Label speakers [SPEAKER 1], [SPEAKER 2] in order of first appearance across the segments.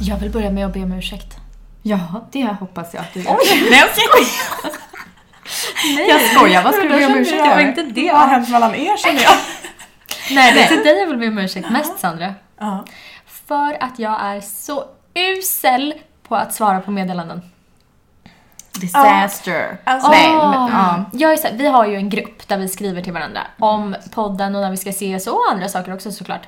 [SPEAKER 1] Jag vill börja med att be om ursäkt.
[SPEAKER 2] Ja, det hoppas jag att du gör.
[SPEAKER 1] Oj!
[SPEAKER 2] Nej, jag skojar! Jag skojar, vad ska du be om ursäkt
[SPEAKER 1] Det var
[SPEAKER 2] för?
[SPEAKER 1] inte det.
[SPEAKER 3] Vad har hänt mellan er känner jag?
[SPEAKER 1] Nej, det är till dig jag vill be om ursäkt mest, Sandra.
[SPEAKER 3] Ja.
[SPEAKER 1] För att jag är så usel på att svara på meddelanden.
[SPEAKER 2] Disaster.
[SPEAKER 3] Alltså,
[SPEAKER 2] Nej, men,
[SPEAKER 1] Åh.
[SPEAKER 2] ja.
[SPEAKER 1] Ah. jag är så här, vi har ju en grupp där vi skriver till varandra om podden och när vi ska ses och andra saker också såklart.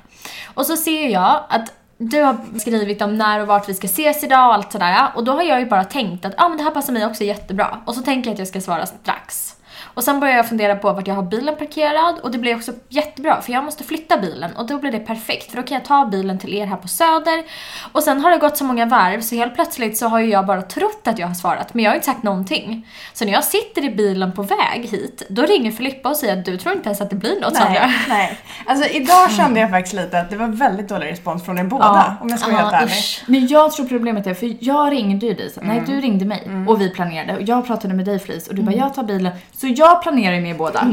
[SPEAKER 1] Och så ser jag att du har skrivit om när och vart vi ska ses idag och allt sådär. Och då har jag ju bara tänkt att ah, men det här passar mig också jättebra. Och så tänker jag att jag ska svara strax. Och sen börjar jag fundera på vart jag har bilen parkerad och det blir också jättebra för jag måste flytta bilen och då blir det perfekt för då kan jag ta bilen till er här på Söder. Och sen har det gått så många varv så helt plötsligt så har ju jag bara trott att jag har svarat men jag har inte sagt någonting. Så när jag sitter i bilen på väg hit då ringer Filippa och säger att du tror inte ens att det blir något Sandra.
[SPEAKER 3] nej, nej. Alltså idag kände jag faktiskt lite att det var väldigt dålig respons från er båda om jag ska vara
[SPEAKER 1] Mm.
[SPEAKER 3] helt
[SPEAKER 1] Ja,
[SPEAKER 3] ärlig.
[SPEAKER 1] usch.
[SPEAKER 2] Men jag tror problemet är, för jag ringde ju dig, så-
[SPEAKER 3] Mm.
[SPEAKER 2] nej du ringde mig och vi planerade och jag pratade med dig Felice och du bara jag tar bilen. Så jag planerar ju med er båda.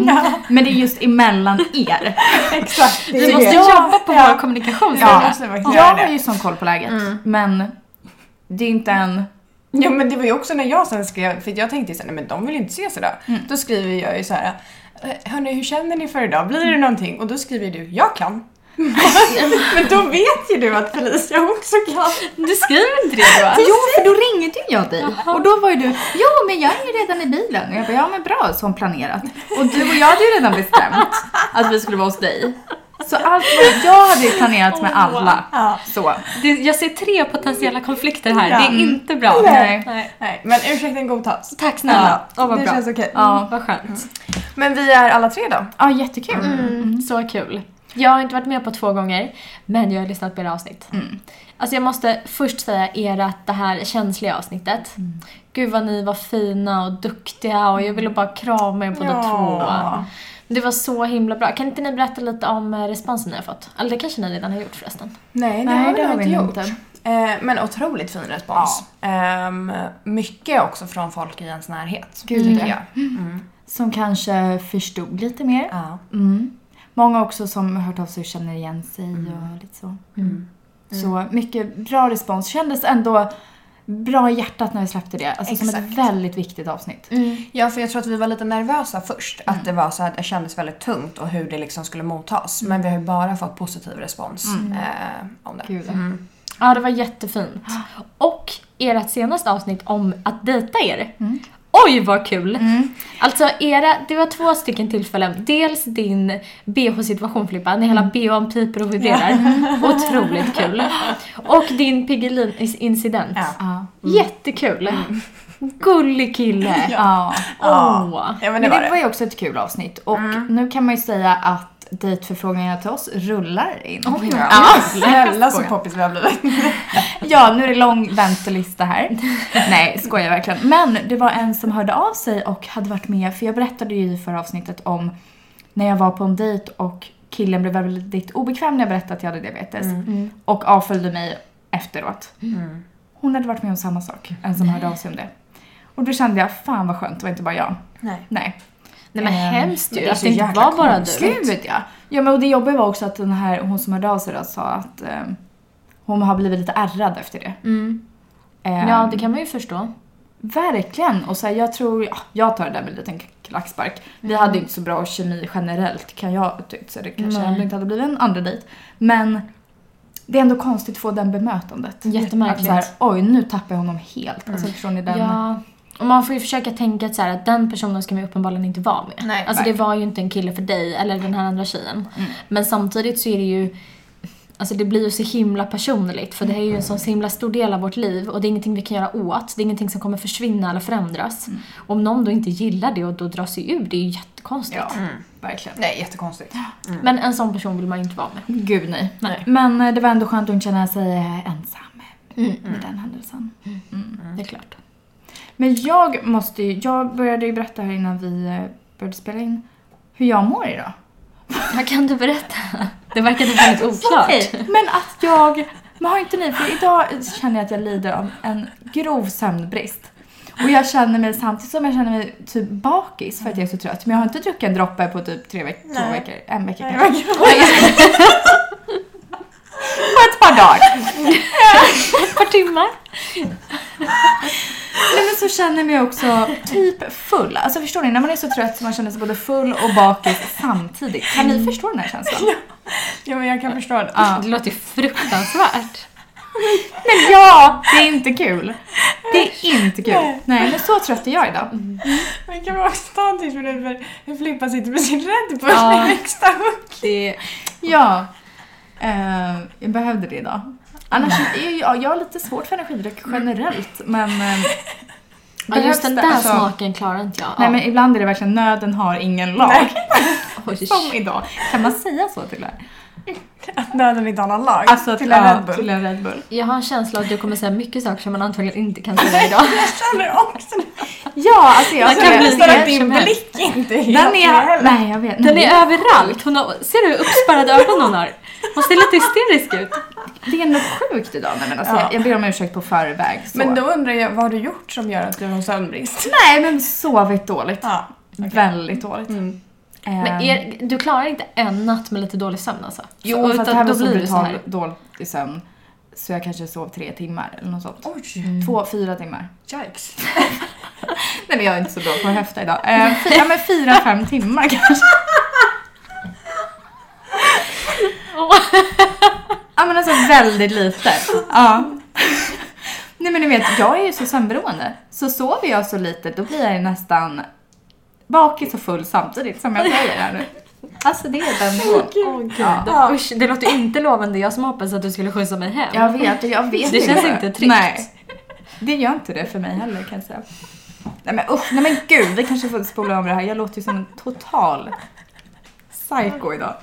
[SPEAKER 2] Men det är just emellan er.
[SPEAKER 3] Exakt. det är
[SPEAKER 1] Vi
[SPEAKER 3] det.
[SPEAKER 1] måste
[SPEAKER 3] Ja,
[SPEAKER 1] jobba på
[SPEAKER 3] ja.
[SPEAKER 1] vår kommunikation.
[SPEAKER 3] Ja.
[SPEAKER 1] Sandra.
[SPEAKER 3] vi måste verkligen göra
[SPEAKER 2] Jag
[SPEAKER 3] det. Mm.
[SPEAKER 2] har ju sån koll på läget, men det är inte en...
[SPEAKER 3] Ja men det var ju också när jag sen skrev, för jag tänkte ju såhär, nej men de vill ju inte ses idag.
[SPEAKER 1] Mm.
[SPEAKER 3] Då skriver jag ju så här. "Eh, hörni hur känner ni för idag? Blir det någonting? Och då skriver du, jag kan. men då vet ju du att Felicia också kan.
[SPEAKER 1] Du skriver inte det då?
[SPEAKER 2] Jo, för då ringde ju jag dig och då var ju du, jo men jag är ju redan i bilen. Och jag bara, ja men bra, som planerat. Och du och jag hade ju redan bestämt att vi skulle vara hos dig. Så allt vad jag hade ju planerat med alla.
[SPEAKER 3] Ja.
[SPEAKER 2] Så.
[SPEAKER 1] Det, jag ser tre potentiella konflikter här,
[SPEAKER 3] Ja.
[SPEAKER 1] det är inte bra.
[SPEAKER 2] Nej.
[SPEAKER 1] Nej.
[SPEAKER 3] Nej, men ursäkten godtas.
[SPEAKER 1] Tack snälla.
[SPEAKER 3] Ja,
[SPEAKER 1] Åh, vad
[SPEAKER 3] det
[SPEAKER 1] bra.
[SPEAKER 3] känns okej.
[SPEAKER 1] Ja, vad skönt.
[SPEAKER 3] Men vi är alla tre då.
[SPEAKER 2] Ja, jättekul.
[SPEAKER 1] Mm, så kul. Jag har inte varit med på två gånger, men jag har lyssnat på era avsnitt.
[SPEAKER 3] Mm.
[SPEAKER 1] Alltså jag måste först säga ert det här känsliga avsnittet.
[SPEAKER 3] Mm.
[SPEAKER 1] Gud vad ni var fina och duktiga och jag ville bara krama er båda
[SPEAKER 3] Ja.
[SPEAKER 1] två. Det var så himla bra. Kan inte ni berätta lite om eh, responsen ni har fått? Eller det kanske ni redan har gjort förresten.
[SPEAKER 3] Nej,
[SPEAKER 2] Nej, det har vi nog
[SPEAKER 3] gjort.
[SPEAKER 2] inte.
[SPEAKER 3] Eh, men otroligt fin respons. Ehm, mycket också från folk i ens närhet.
[SPEAKER 2] Gud,
[SPEAKER 3] tycker
[SPEAKER 2] ja.
[SPEAKER 3] jag.
[SPEAKER 2] Som kanske förstod lite mer.
[SPEAKER 3] Ja.
[SPEAKER 2] Mm. Många också som hört av sig och känner igen sig och lite så. Mm. Så mycket bra respons. Kändes ändå bra i hjärtat när vi släppte det. Alltså som ett
[SPEAKER 3] Exakt.
[SPEAKER 2] väldigt viktigt avsnitt.
[SPEAKER 3] ja, för jag tror att vi var lite nervösa först.
[SPEAKER 2] Mm.
[SPEAKER 3] Att det var så att det kändes väldigt tungt och hur det liksom skulle mottas. Men vi har ju bara fått positiv respons eh, om det.
[SPEAKER 2] Mm. Gud.
[SPEAKER 1] Ja, det var jättefint. Och ert senaste avsnitt om att dejta er.
[SPEAKER 3] Mm.
[SPEAKER 1] Oj, vad kul! Alltså, era, det var två stycken tillfällen. Dels din bh-situation Filippa, när
[SPEAKER 3] Mm.
[SPEAKER 1] hela bhn piper och vibrerar. Otroligt kul. Och din Piggelin-incident.
[SPEAKER 3] Ja. Mm.
[SPEAKER 2] Ja.
[SPEAKER 1] Jättekul! Gullig kille!
[SPEAKER 2] Ja.
[SPEAKER 3] Ja.
[SPEAKER 1] Åh.
[SPEAKER 3] Ja, men
[SPEAKER 2] Men
[SPEAKER 3] det Mm. var
[SPEAKER 2] det var
[SPEAKER 3] det.
[SPEAKER 2] ju också ett kul avsnitt. Och nu kan man ju säga att dejtförfrågningarna till oss rullar in.
[SPEAKER 3] Ja, snälla så poppis vi har blivit.
[SPEAKER 2] Ja, nu är det lång väntelista här. Nej, skojar verkligen. Men det var en som hörde av sig och hade varit med, för jag berättade ju i förra avsnittet om när jag var på en dejt och killen blev väldigt obekväm när jag berättade att jag hade diabetes
[SPEAKER 3] Mm.
[SPEAKER 2] och avföljde mig efteråt. Hon hade varit med om samma sak, en som hörde av sig om det. Och då kände jag, fan vad skönt, det var inte bara jag.
[SPEAKER 3] Nej.
[SPEAKER 2] Nej.
[SPEAKER 1] Nej men
[SPEAKER 2] Ehm,
[SPEAKER 1] hemskt
[SPEAKER 3] men
[SPEAKER 1] ju
[SPEAKER 3] det är
[SPEAKER 1] att
[SPEAKER 3] så
[SPEAKER 1] det inte
[SPEAKER 3] jäkla
[SPEAKER 1] var bara du.
[SPEAKER 2] Gud ja. Ja men och det jobbiga var också att den här, hon som hörde av sig då sa att eh, hon har blivit lite ärrad efter det.
[SPEAKER 1] Mm.
[SPEAKER 2] Ehm,
[SPEAKER 1] Ja, det kan man ju förstå.
[SPEAKER 2] Verkligen. Och så här, jag tror, ja, jag tar det där med en liten klackspark. Vi hade inte så bra kemi generellt kan jag ha tyckt så det kanske
[SPEAKER 1] Mm. Nej.
[SPEAKER 2] ändå inte hade blivit en andra dejt. Men det är ändå konstigt att få den bemötandet. Att
[SPEAKER 1] Jättemärkligt.
[SPEAKER 2] så här, oj nu tappar jag honom helt. Alltså förstår ni den?
[SPEAKER 1] Mm. Ja. Och man får ju försöka tänka att, så här, att den personen ska man ju uppenbarligen inte vara med.
[SPEAKER 3] Nej,
[SPEAKER 1] alltså det
[SPEAKER 3] verkligen.
[SPEAKER 1] var ju inte en kille för dig eller den här andra tjejen.
[SPEAKER 2] Mm.
[SPEAKER 1] Men samtidigt så är det ju Alltså det blir ju så himla personligt för det här är ju en sån så himla stor del av vårt liv och det är ingenting vi kan göra åt. Det är ingenting som kommer försvinna eller förändras.
[SPEAKER 2] Mm.
[SPEAKER 1] Om någon då inte gillar det och då drar sig ur, det är ju jättekonstigt.
[SPEAKER 2] Ja, Mm. verkligen.
[SPEAKER 3] Nej, jättekonstigt.
[SPEAKER 1] Men en sån person vill man ju inte vara med.
[SPEAKER 2] Gud nej.
[SPEAKER 1] Nej.
[SPEAKER 2] Men eh, det var ändå
[SPEAKER 1] Mm,
[SPEAKER 2] skönt att inte känna sig eh, ensam. Med den händelsen.
[SPEAKER 1] Det är klart.
[SPEAKER 2] Men jag måste ju, jag började ju berätta här innan vi eh, började spela in hur jag mår idag.
[SPEAKER 1] Vad kan du berätta? Det verkade väldigt oklart.
[SPEAKER 2] Okej, Men att jag, men har inte ni, för idag känner jag att jag lider av en grov sömnbrist. Och jag känner mig samtidigt som jag känner mig typ bakis för att jag är så trött. Men jag har inte druckit en droppe på typ tre veckor, två
[SPEAKER 3] Nej.
[SPEAKER 2] veckor, en vecka
[SPEAKER 3] Nej,
[SPEAKER 2] kanske. På ett par dagar.
[SPEAKER 1] Ett par timmar.
[SPEAKER 2] Nej, men så känner jag mig också typ full. Alltså förstår ni, när man är så trött så man känner sig både full och bakis samtidigt. Kan ni förstå den här känslan?
[SPEAKER 3] Mm. Ja, men jag kan förstå det.
[SPEAKER 2] Ja.
[SPEAKER 1] Det låter ju fruktansvärt.
[SPEAKER 2] Men ja, det är inte kul. Det är inte kul. Nej,
[SPEAKER 3] Nej.
[SPEAKER 2] men så trött är jag idag.
[SPEAKER 3] Men kan vara statisk för över hur Filippa sitter med sin rädd på
[SPEAKER 2] Ja.
[SPEAKER 3] nästa hugg.
[SPEAKER 2] Det, ja. Eh, jag behövde det idag. Annars är jag, ja, jag har lite svårt för energidryck generellt, men... eh,
[SPEAKER 1] Ja, just den
[SPEAKER 2] behövs det-
[SPEAKER 1] där
[SPEAKER 2] alltså-
[SPEAKER 1] smaken klarar inte jag av.
[SPEAKER 2] Nej, men ibland är det verkligen nöden har ingen lag.
[SPEAKER 3] Nej.
[SPEAKER 1] Oj.
[SPEAKER 2] Som idag. Kan man säga så till det?
[SPEAKER 3] Att nöden inte har någon lag.
[SPEAKER 2] Alltså
[SPEAKER 3] till en
[SPEAKER 2] ja,
[SPEAKER 3] Red Bull.
[SPEAKER 2] Till en Red Bull.
[SPEAKER 1] Jag har en känsla att du kommer säga mycket saker som man antagligen inte kan säga idag.
[SPEAKER 3] Jag känner också det.
[SPEAKER 2] Ja, alltså jag
[SPEAKER 1] Den
[SPEAKER 2] ser-
[SPEAKER 1] kan bli-
[SPEAKER 3] Nästan att
[SPEAKER 1] vem som
[SPEAKER 3] din
[SPEAKER 1] helst.
[SPEAKER 3] blick inte är
[SPEAKER 2] Den är...
[SPEAKER 3] helt
[SPEAKER 2] Nej, jag vet.
[SPEAKER 1] Den
[SPEAKER 2] Nej,
[SPEAKER 1] är överallt. Hon har, ser du hur uppspärrade ögon hon har? Hon ser lite hysterisk ut.
[SPEAKER 2] Det är nog sjukt idag. Nej, men alltså,
[SPEAKER 3] Ja.
[SPEAKER 2] jag, jag ber om ursäkt på förväg. Så.
[SPEAKER 3] Men då undrar jag, vad har du gjort som gör att du har sömnbrist?
[SPEAKER 2] Nej, men sovit dåligt.
[SPEAKER 3] Ja.
[SPEAKER 2] Väldigt dåligt.
[SPEAKER 3] Mm.
[SPEAKER 1] Men
[SPEAKER 2] Ehm,
[SPEAKER 1] er, du klarar inte en natt med lite dålig sömn alltså?
[SPEAKER 2] Jo, för att det här var så
[SPEAKER 1] blir det så här.
[SPEAKER 2] brutalt dåligt i sömn. liksom, Så jag kanske sov tre timmar eller något sånt.
[SPEAKER 3] Oj,
[SPEAKER 2] Två, fyra timmar.
[SPEAKER 3] yikes.
[SPEAKER 2] Mm. Nej men jag är inte så bra på att höfta idag. Eh, fyra, men fyra, fem timmar kanske.
[SPEAKER 1] Åh.
[SPEAKER 2] Ja men alltså väldigt lite. Ja. Nej men ni vet, jag är ju så sömnberoende. Så sover jag så lite, då blir jag ju nästan bakis och full samtidigt som jag säger här nu. Alltså det är den nivån.
[SPEAKER 1] Åh gud.
[SPEAKER 3] Ja.
[SPEAKER 1] Usch, det låter inte lovande. Jag som hoppades att du skulle skjutsa mig hem.
[SPEAKER 2] Jag vet, och jag vet
[SPEAKER 1] Det känns inte tryggt.
[SPEAKER 2] Nej. Det gör inte det för mig heller kan jag säga. Nej men usch, nej men gud, vi kanske får spola om det här. Jag låter ju som en total psycho idag.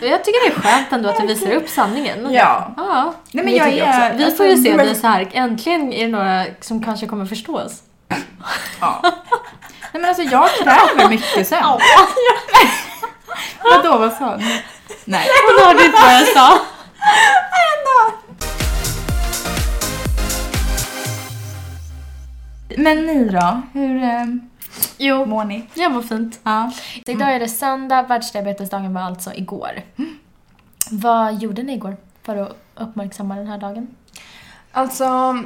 [SPEAKER 1] Jag tycker det är skönt ändå att du visar upp sanningen.
[SPEAKER 2] Ja.
[SPEAKER 1] Ja.
[SPEAKER 2] Nej men
[SPEAKER 3] Det
[SPEAKER 2] jag
[SPEAKER 3] tycker jag
[SPEAKER 2] är... alltså,
[SPEAKER 1] Vi får ju se om
[SPEAKER 3] men-
[SPEAKER 1] det är alltså, så här. Äntligen är det några som kanske kommer förstå oss.
[SPEAKER 2] Ja. Nej men alltså jag kräver mycket sömn. Vadå, vad sa du? Nej.
[SPEAKER 1] Hon hörde inte typ vad jag sa.
[SPEAKER 2] Men ni då? Hur eh,
[SPEAKER 1] Jo,
[SPEAKER 2] mår ni?
[SPEAKER 1] jag mår fint.
[SPEAKER 2] Ja.
[SPEAKER 1] Så idag är det söndag, världsdiabetesdagen var alltså igår. Vad gjorde ni igår för att uppmärksamma den här dagen?
[SPEAKER 3] Alltså,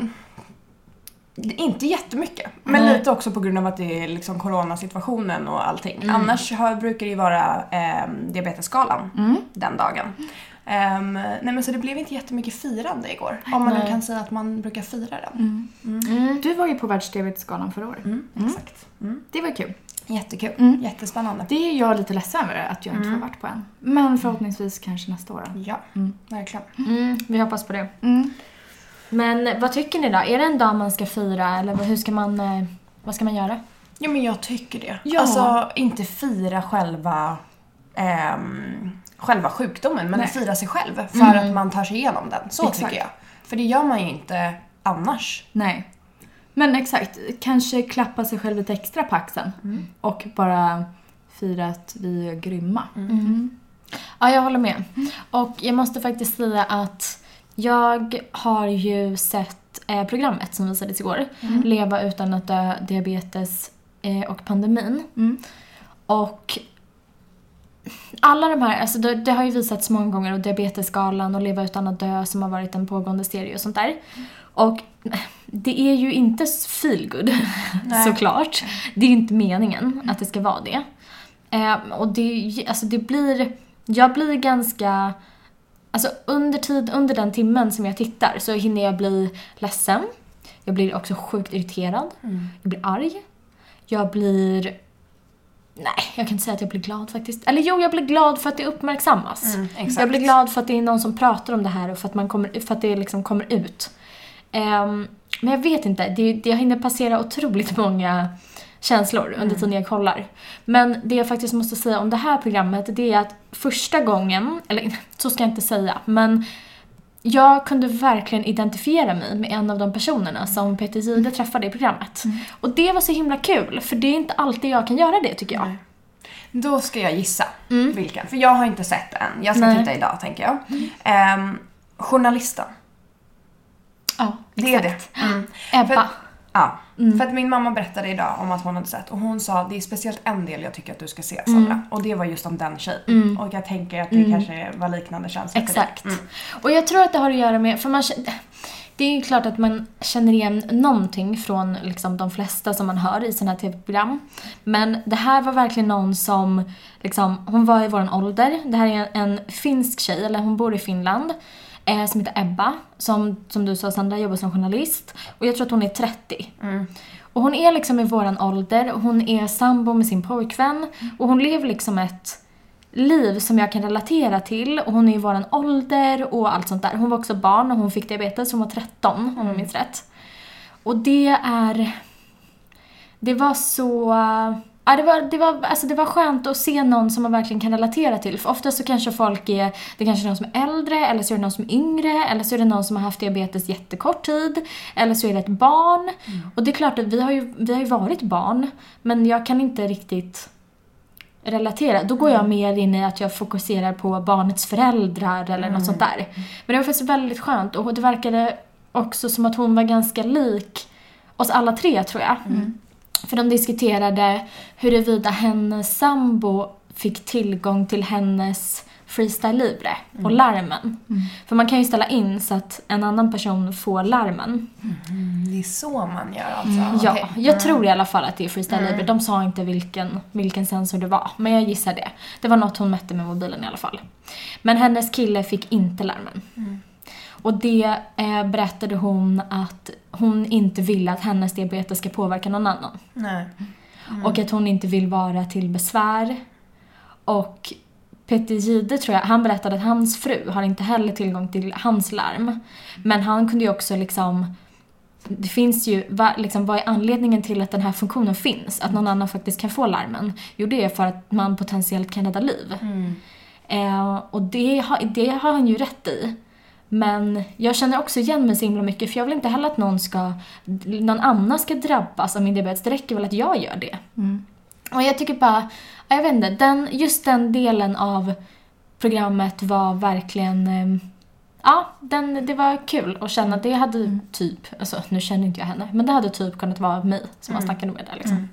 [SPEAKER 3] inte jättemycket. Men
[SPEAKER 1] Nej.
[SPEAKER 3] lite också på grund av att det är liksom coronasituationen och allting.
[SPEAKER 1] Mm.
[SPEAKER 3] Annars har, brukar det ju vara eh, diabetesskalan
[SPEAKER 2] Mm.
[SPEAKER 3] den dagen. Ehm, nej men så det blev inte jättemycket firande igår. Om man nu
[SPEAKER 1] Nej.
[SPEAKER 3] kan säga att man brukar fira den.
[SPEAKER 2] Mm. Du var ju på världsdiabetesgalan förra året.
[SPEAKER 3] Mm,
[SPEAKER 2] Mm.
[SPEAKER 3] Exakt. Mm.
[SPEAKER 2] Det var kul.
[SPEAKER 3] Jättekul.
[SPEAKER 2] Mm.
[SPEAKER 3] Jättespännande.
[SPEAKER 2] Det är jag lite ledsen över att jag inte har varit på en. Men förhoppningsvis kanske nästa år. då.
[SPEAKER 3] Ja,
[SPEAKER 2] Mm.
[SPEAKER 3] verkligen.
[SPEAKER 1] Mm, vi hoppas på det.
[SPEAKER 2] Mm.
[SPEAKER 1] Men vad tycker ni då? Är det en dag man ska fira eller vad- hur ska man, eh, vad ska man göra?
[SPEAKER 3] Ja men jag tycker det.
[SPEAKER 2] Ja.
[SPEAKER 3] Alltså inte fira själva ehm, själva sjukdomen men
[SPEAKER 2] Nej.
[SPEAKER 3] fira sig själv för
[SPEAKER 1] Mm.
[SPEAKER 3] att man tar sig igenom den. Så
[SPEAKER 2] Exakt.
[SPEAKER 3] tycker jag. För det gör man ju inte annars.
[SPEAKER 2] Nej. Men exakt, kanske klappa sig själv lite extra på axeln.
[SPEAKER 1] Mm.
[SPEAKER 3] Mm,
[SPEAKER 2] Och bara fira att vi är grymma.
[SPEAKER 1] Mm. Ja, jag håller med. Och jag måste faktiskt säga att jag har ju sett eh, programmet som visades igår. Leva utan att dö, diabetes eh, och pandemin.
[SPEAKER 2] Mm.
[SPEAKER 1] Och alla de här, alltså det, det har ju visats många gånger och Diabetesgalan och Leva utan att dö som har varit en pågående serie och sånt där. Och det är ju inte feelgood
[SPEAKER 3] Nej.
[SPEAKER 1] såklart. Det är ju inte meningen att det ska vara det. Eh, och det, är ju- alltså det blir, jag blir ganska, alltså under tid, under den timmen som jag tittar så hinner jag bli ledsen. Jag blir också sjukt irriterad. Jag blir arg. Jag blir Nej, jag kan inte säga att jag blir glad faktiskt. Eller jo, jag blir glad för att det uppmärksammas.
[SPEAKER 3] Mm, exakt.
[SPEAKER 1] jag blir glad för att det är någon som pratar om det här och för att, man kommer, för att det liksom kommer ut. Ehm, men jag vet inte, det, det, jag hinner passera otroligt många känslor
[SPEAKER 3] Mm.
[SPEAKER 1] under tiden jag kollar. Men det jag faktiskt måste säga om det här programmet, det är att första gången, eller så ska jag inte säga, men jag kunde verkligen identifiera mig med en av de personerna som Peter Jihde träffade i programmet.
[SPEAKER 3] Mm.
[SPEAKER 1] Och det var så himla kul, för det är inte alltid jag kan göra det tycker jag.
[SPEAKER 3] Nej. Då ska jag gissa vilken, för jag har inte sett den. Jag ska
[SPEAKER 1] Mm. Nej. Mm.
[SPEAKER 3] titta idag tänker jag. Ehm, journalisten.
[SPEAKER 1] Ja,
[SPEAKER 3] Det är det. Mm. För,
[SPEAKER 1] Ebba. Mm.
[SPEAKER 3] ja. för att min mamma berättade idag om att hon hade sett och hon sa det är speciellt en del jag tycker att du ska
[SPEAKER 1] Mm.
[SPEAKER 3] se Sandra. Och det var just om den tjejen. Och jag tänker att det kanske var liknande känslor för dig.
[SPEAKER 1] Exakt. Och jag tror att det har att göra med, för man känner, det är ju klart att man känner igen någonting från liksom de flesta som man hör i sådana här tv-program. Men det här var verkligen någon som, liksom, hon var i våran ålder. Det här är en, en finsk tjej, eller hon bor i Finland, eh, som heter Ebba. Som, som du sa Sandra, jobbar som journalist. Och jag tror att hon är 30. Och hon är liksom i våran ålder, och hon är sambo med sin pojkvän och hon lever liksom ett liv som jag kan relatera till och hon är i våran ålder och allt sånt där. Hon var också barn och hon fick diabetes, hon var 13 om jag minns rätt. Och det är... Det var så... Ja, det, var, det, var, alltså det var skönt att se någon som man verkligen kan relatera till. För ofta så kanske folk är... Det kanske är någon som är äldre, eller så är det någon som är yngre, eller så är det någon som har haft diabetes jättekort tid, eller så är det ett barn. Och det är klart att vi har, ju, vi har ju varit barn, men jag kan inte riktigt relatera. Då går jag mer in i att jag fokuserar på barnets föräldrar eller något sånt där. Men det var faktiskt väldigt skönt och det verkade också som att hon var ganska lik oss alla tre tror jag. För de diskuterade huruvida hennes sambo fick tillgång till hennes freestyle libre och larmen. För man kan ju ställa in så att en annan person får larmen.
[SPEAKER 3] Det är så man gör alltså.
[SPEAKER 1] Mm. Ja, Mm.
[SPEAKER 3] Okej.
[SPEAKER 1] jag tror i alla fall att det är freestyle libre. De sa inte vilken, vilken sensor det var, men jag gissar det. Det var något hon mätte med mobilen i alla fall. Men hennes kille fick inte larmen. Och det eh, berättade hon att hon inte ville att hennes diabetes ska påverka någon annan.
[SPEAKER 3] Nej.
[SPEAKER 1] Och att hon inte vill vara till besvär. Och Peter Gide tror jag, han berättade att hans fru har inte heller tillgång till hans larm. Men han kunde ju också liksom det finns ju, va, liksom, vad är anledningen till att den här funktionen finns? Att någon annan faktiskt kan få larmen? Jo, det är för att man potentiellt kan rädda liv.
[SPEAKER 3] Mm.
[SPEAKER 1] Eh, och det, har- det har han ju rätt i. Men jag känner också igen mig så himla mycket för jag vill inte heller att någon, ska, någon annan ska drabbas av min diabetes. Det räcker väl att jag gör det.
[SPEAKER 2] Mm.
[SPEAKER 1] Och jag tycker bara, ja, jag vet inte, den, just den delen av programmet var verkligen eh, Ja, den, det var kul att känna. Det hade typ, alltså nu känner inte jag henne, men det hade typ kunnat vara mig som man snackade med där liksom.
[SPEAKER 3] Mm.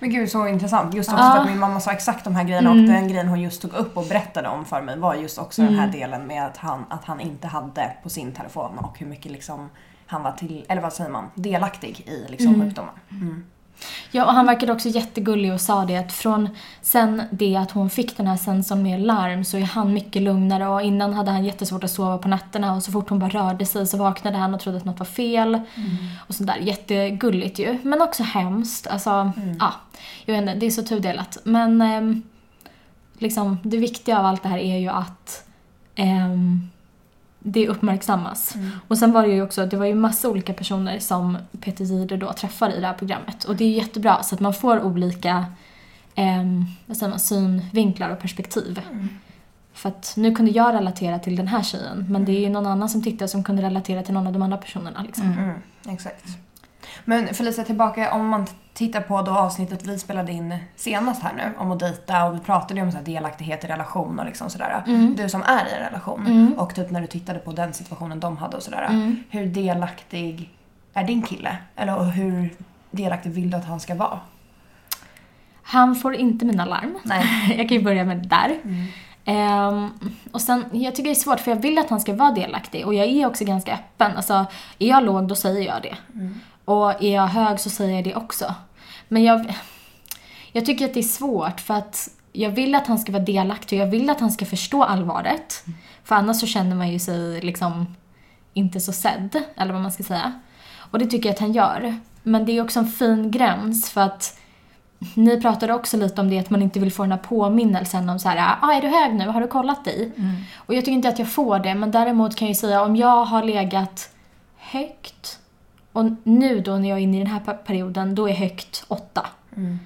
[SPEAKER 3] Men gud så intressant. Just också
[SPEAKER 1] Ja.
[SPEAKER 3] för att min mamma sa exakt de här grejerna
[SPEAKER 1] Mm.
[SPEAKER 3] och den grejen hon just tog upp och berättade om för mig var just också den
[SPEAKER 1] Mm.
[SPEAKER 3] här delen med att han, att han inte hade på sin telefon och hur mycket liksom han var till, eller vad säger man, delaktig i liksom
[SPEAKER 1] Mm.
[SPEAKER 3] sjukdomen.
[SPEAKER 1] Ja, och han verkade också jättegullig och sa det att från sen det att hon fick den här sensorn med larm så är han mycket lugnare och innan hade han jättesvårt att sova på nätterna och så fort hon bara rörde sig så vaknade han och trodde att något var fel. Och sånt där. Jättegulligt ju, men också hemskt. Alltså,
[SPEAKER 3] Mm.
[SPEAKER 1] ja. Jag vet inte, det är så tudelat. Men ehm, liksom, det viktiga av allt det här är ju att ehm, det uppmärksammas.
[SPEAKER 3] Mm.
[SPEAKER 1] Och sen var det ju också, det var ju massa olika personer som Peter Jihde då träffar i det här programmet. Och det är jättebra så att man får olika ehm, vad säger man, synvinklar och perspektiv.
[SPEAKER 3] Mm.
[SPEAKER 1] För att nu kunde jag relatera till den här tjejen men det är ju någon annan som tittar som kunde relatera till någon av de andra personerna. Liksom.
[SPEAKER 3] Mm, exakt. Men Felicia, tillbaka om man t- tittar på då avsnittet vi spelade in senast här nu om att dejta och vi pratade ju om så här delaktighet i relation och liksom sådär.
[SPEAKER 1] Mm.
[SPEAKER 3] Du som är i en relation och typ när du tittade på den situationen de hade och sådär.
[SPEAKER 1] Mm.
[SPEAKER 3] Hur delaktig är din kille? Eller och hur delaktig vill du att han ska vara?
[SPEAKER 1] Han får inte mina larm.
[SPEAKER 3] Nej.
[SPEAKER 1] jag kan ju börja med det där. Ehm, och sen, jag tycker det är svårt för jag vill att han ska vara delaktig och jag är också ganska öppen. Alltså, är jag låg då säger jag det. Och är jag hög så säger jag det också. Men jag, jag tycker att det är svårt för att jag vill att han ska vara delaktig och jag vill att han ska förstå allvaret. För annars så känner man ju sig liksom inte så sedd, eller vad man ska säga. Och det tycker jag att han gör. Men det är också en fin gräns för att ni pratade också lite om det att man inte vill få den här påminnelsen om så här, ah, är du hög nu? Har du kollat dig?
[SPEAKER 3] Mm.
[SPEAKER 1] Och jag tycker inte att jag får det, men däremot kan jag ju säga om jag har legat högt och nu då när jag är inne i den här pe- perioden, då är högt åtta. Och
[SPEAKER 3] Mm.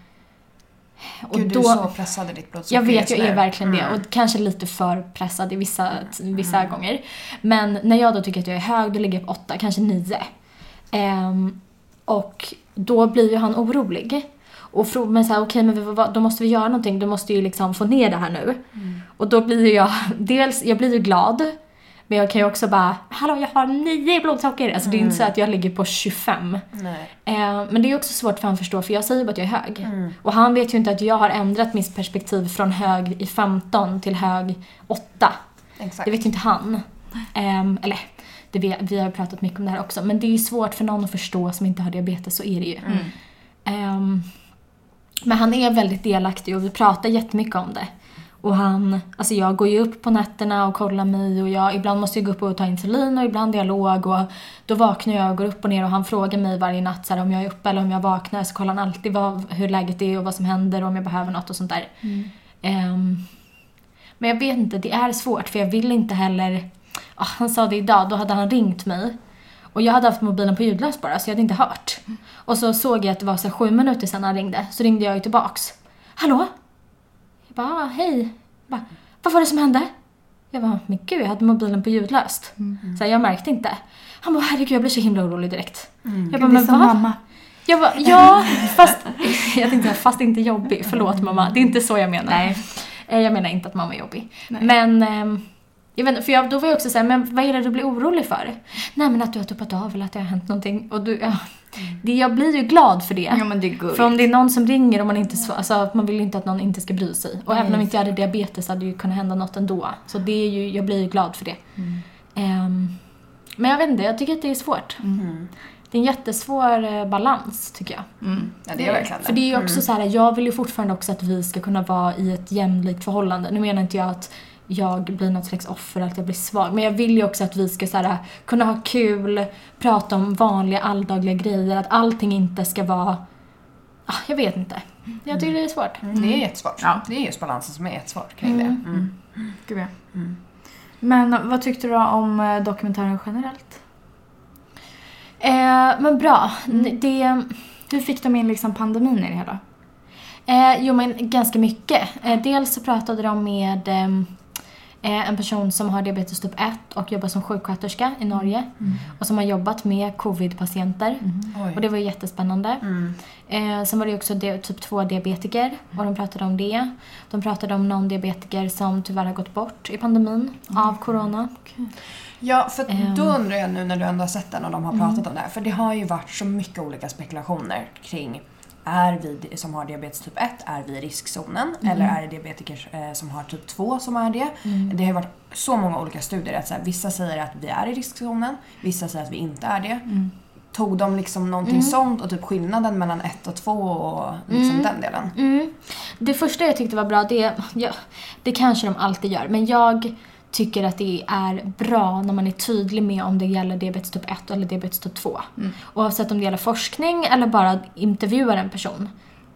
[SPEAKER 3] Gud,
[SPEAKER 1] då,
[SPEAKER 3] du är så pressad i ditt blodsocker
[SPEAKER 1] jag vet, jag
[SPEAKER 3] just
[SPEAKER 1] är
[SPEAKER 3] nu. Mm.
[SPEAKER 1] verkligen det. Och kanske lite för pressad i vissa, vissa gånger. Men när jag då tycker att jag är hög, då ligger jag på åtta, kanske nio. Ehm, och då blir ju han orolig. Och Fro- men såhär, okej men vi, vad- då måste vi göra någonting, då måste vi ju liksom få ner det här nu. Och då blir ju jag, dels, jag blir ju glad. Men jag kan ju också bara, hallå jag har nio i blodsocker. Alltså det är ju inte så att jag ligger på 25.
[SPEAKER 3] Nej.
[SPEAKER 1] Eh, men det är också svårt för han att förstå för jag säger bara att jag är hög. Och han vet ju inte att jag har ändrat mitt perspektiv från hög i 15 till hög 8.
[SPEAKER 3] Exakt.
[SPEAKER 1] Det vet ju inte han. Ehm, eller, det vet, vi har ju pratat mycket om det här också. Men det är ju svårt för någon att förstå som inte har diabetes, så är det ju. Ehm, men han är väldigt delaktig och vi pratar jättemycket om det. Och han, alltså jag går ju upp på nätterna och kollar mig och jag, ibland måste jag gå upp och ta insulin och ibland dialog och då vaknar jag och går upp och ner och han frågar mig varje natt så här, om jag är uppe eller om jag vaknar så kollar han alltid vad, hur läget är och vad som händer och om jag behöver något och sånt där. Ehm, men jag vet inte, det är svårt för jag vill inte heller... Ah, han sa det idag, då hade han ringt mig. Och jag hade haft mobilen på ljudlös bara så jag hade inte hört. Och så såg jag att det var så här sju minuter sedan han ringde, så ringde jag ju tillbaks. Hallå? Jag bara, ah, hej. Jag bara, vad var det som hände? Jag bara, men gud jag hade mobilen på ljudlöst.
[SPEAKER 2] Mm.
[SPEAKER 1] Så här, jag märkte inte. Han bara, herregud jag blir så himla orolig direkt. Jag bara,
[SPEAKER 2] Gud, Mm. det är
[SPEAKER 1] men
[SPEAKER 2] som
[SPEAKER 1] vad?
[SPEAKER 2] mamma.
[SPEAKER 1] Jag bara, ja, fast, jag tänkte, säga, fast inte jobbig. Förlåt mamma, det är inte så jag menar.
[SPEAKER 2] Nej.
[SPEAKER 1] Eh, Jag menar inte att mamma är jobbig.
[SPEAKER 2] Nej.
[SPEAKER 1] Men, ehm, jag vet, inte, för jag, då var jag också såhär, men vad är det du blir orolig för? Nej men att du har tuppat av eller att det har hänt någonting. Och du, ja, det, jag blir ju glad för det.
[SPEAKER 2] Mm. Ja men det är gulligt.
[SPEAKER 1] För om det är någon som ringer och man inte svarar, alltså man vill ju inte att någon inte ska bry sig. Och även om inte jag hade diabetes hade ju kunnat hända något ändå. Så det är ju, jag blir ju glad för det.
[SPEAKER 2] Mm.
[SPEAKER 1] Ehm, men jag vet inte, jag tycker att det är svårt.
[SPEAKER 3] Mm.
[SPEAKER 1] Det är en jättesvår eh, balans tycker jag.
[SPEAKER 2] Mm.
[SPEAKER 3] Ja, det är verkligen
[SPEAKER 1] För det är ju också så här, jag vill ju fortfarande också att vi ska kunna vara i ett jämlikt förhållande. Nu menar inte jag att jag blir något slags offer, att jag blir svag. Men jag vill ju också att vi ska så här, kunna ha kul, prata om vanliga alldagliga grejer. Att allting inte ska vara... Ah, jag vet inte. Jag tycker det är svårt.
[SPEAKER 3] Mm. Det är jättesvårt.
[SPEAKER 2] Ja.
[SPEAKER 3] Det är just balansen som är jättesvår kring det. Mm.
[SPEAKER 2] Gud, ja. Men vad tyckte du om eh, dokumentären generellt?
[SPEAKER 1] Eh, men bra. Det...
[SPEAKER 2] Hur fick de in liksom pandemin i det hela?
[SPEAKER 1] Eh, jo men ganska mycket. Eh, dels så pratade de med ehm, eh, en person som har diabetes typ 1 och jobbar som sjuksköterska i Norge. Och som har jobbat med covid-patienter.
[SPEAKER 3] Oj.
[SPEAKER 1] Och det var ju jättespännande.
[SPEAKER 3] Mm.
[SPEAKER 1] Eh, sen var det ju också di- typ 2-diabetiker och de pratade om det. De pratade om någon diabetiker som tyvärr har gått bort i pandemin av corona.
[SPEAKER 3] Ja, för att då undrar jag nu när du ändå har sett den och de har pratat om det här. För det har ju varit så mycket olika spekulationer kring är vi som har diabetes typ 1, är vi i riskzonen? Eller är det diabetiker eh, som har typ 2 som är det? Det har ju varit så många olika studier. Att så här, vissa säger att vi är i riskzonen, vissa säger att vi inte är det. Tog de liksom någonting sånt och typ skillnaden mellan 1 och 2 och liksom den delen?
[SPEAKER 1] Mm. Det första jag tyckte var bra, det, ja, det kanske de alltid gör, men jag tycker att det är bra när man är tydlig med om det gäller diabetes typ 1 eller diabetes typ 2. Oavsett om det gäller forskning eller bara intervjuar en person.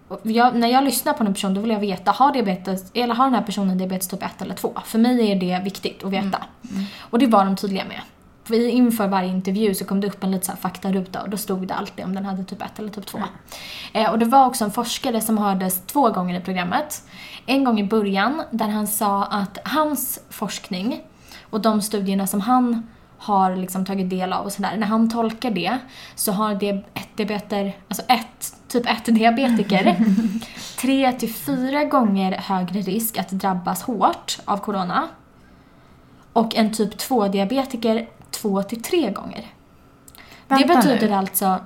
[SPEAKER 1] Och Jag, när jag lyssnar på en person då vill jag veta, har, diabetes, eller har den här personen diabetes typ 1 eller 2? För mig är det viktigt att veta. Och det var de tydliga med. För i- inför varje intervju så kom det upp en liten så här faktaruta och då stod det alltid om den hade typ 1 eller typ 2. Eh, och det var också en forskare som hördes två gånger i programmet. En gång i början där han sa att hans forskning och de studierna som han har liksom tagit del av och sådär. När han tolkar det så har det ett diabeter, alltså ett, typ ett diabetiker tre till fyra gånger högre risk att drabbas hårt av corona och en typ 2-diabetiker två till tre gånger.
[SPEAKER 2] Vänta
[SPEAKER 1] det betyder
[SPEAKER 2] nu.
[SPEAKER 1] alltså...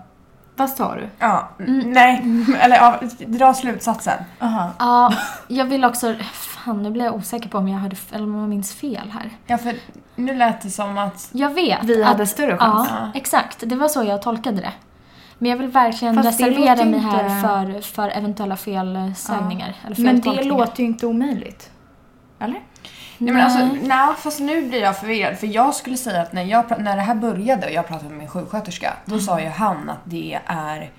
[SPEAKER 2] Vad sa du?
[SPEAKER 3] Ja, nej, eller ja, dra slutsatsen.
[SPEAKER 2] Aha.
[SPEAKER 1] Ja, jag vill också... Fan, nu blir jag osäker på om jag, hade, eller om jag minns fel här.
[SPEAKER 3] Ja, för nu lät det som att
[SPEAKER 1] Jag vet
[SPEAKER 2] Vi
[SPEAKER 1] att,
[SPEAKER 2] hade större chans.
[SPEAKER 1] Ja, exakt. Det var så jag tolkade det. Men jag vill verkligen
[SPEAKER 2] Fast det
[SPEAKER 1] reservera
[SPEAKER 2] låter
[SPEAKER 1] mig här
[SPEAKER 2] inte-
[SPEAKER 1] för, för eventuella felsägningar. Eller
[SPEAKER 2] Men det
[SPEAKER 1] feltolkningar.
[SPEAKER 2] låter ju inte omöjligt. Eller?
[SPEAKER 3] Nej men alltså,
[SPEAKER 1] Nej.
[SPEAKER 3] nej fast nu blir jag förvirrad för jag skulle säga att när, jag, pra- när det här började och jag pratade med min sjuksköterska då sa ju han att det är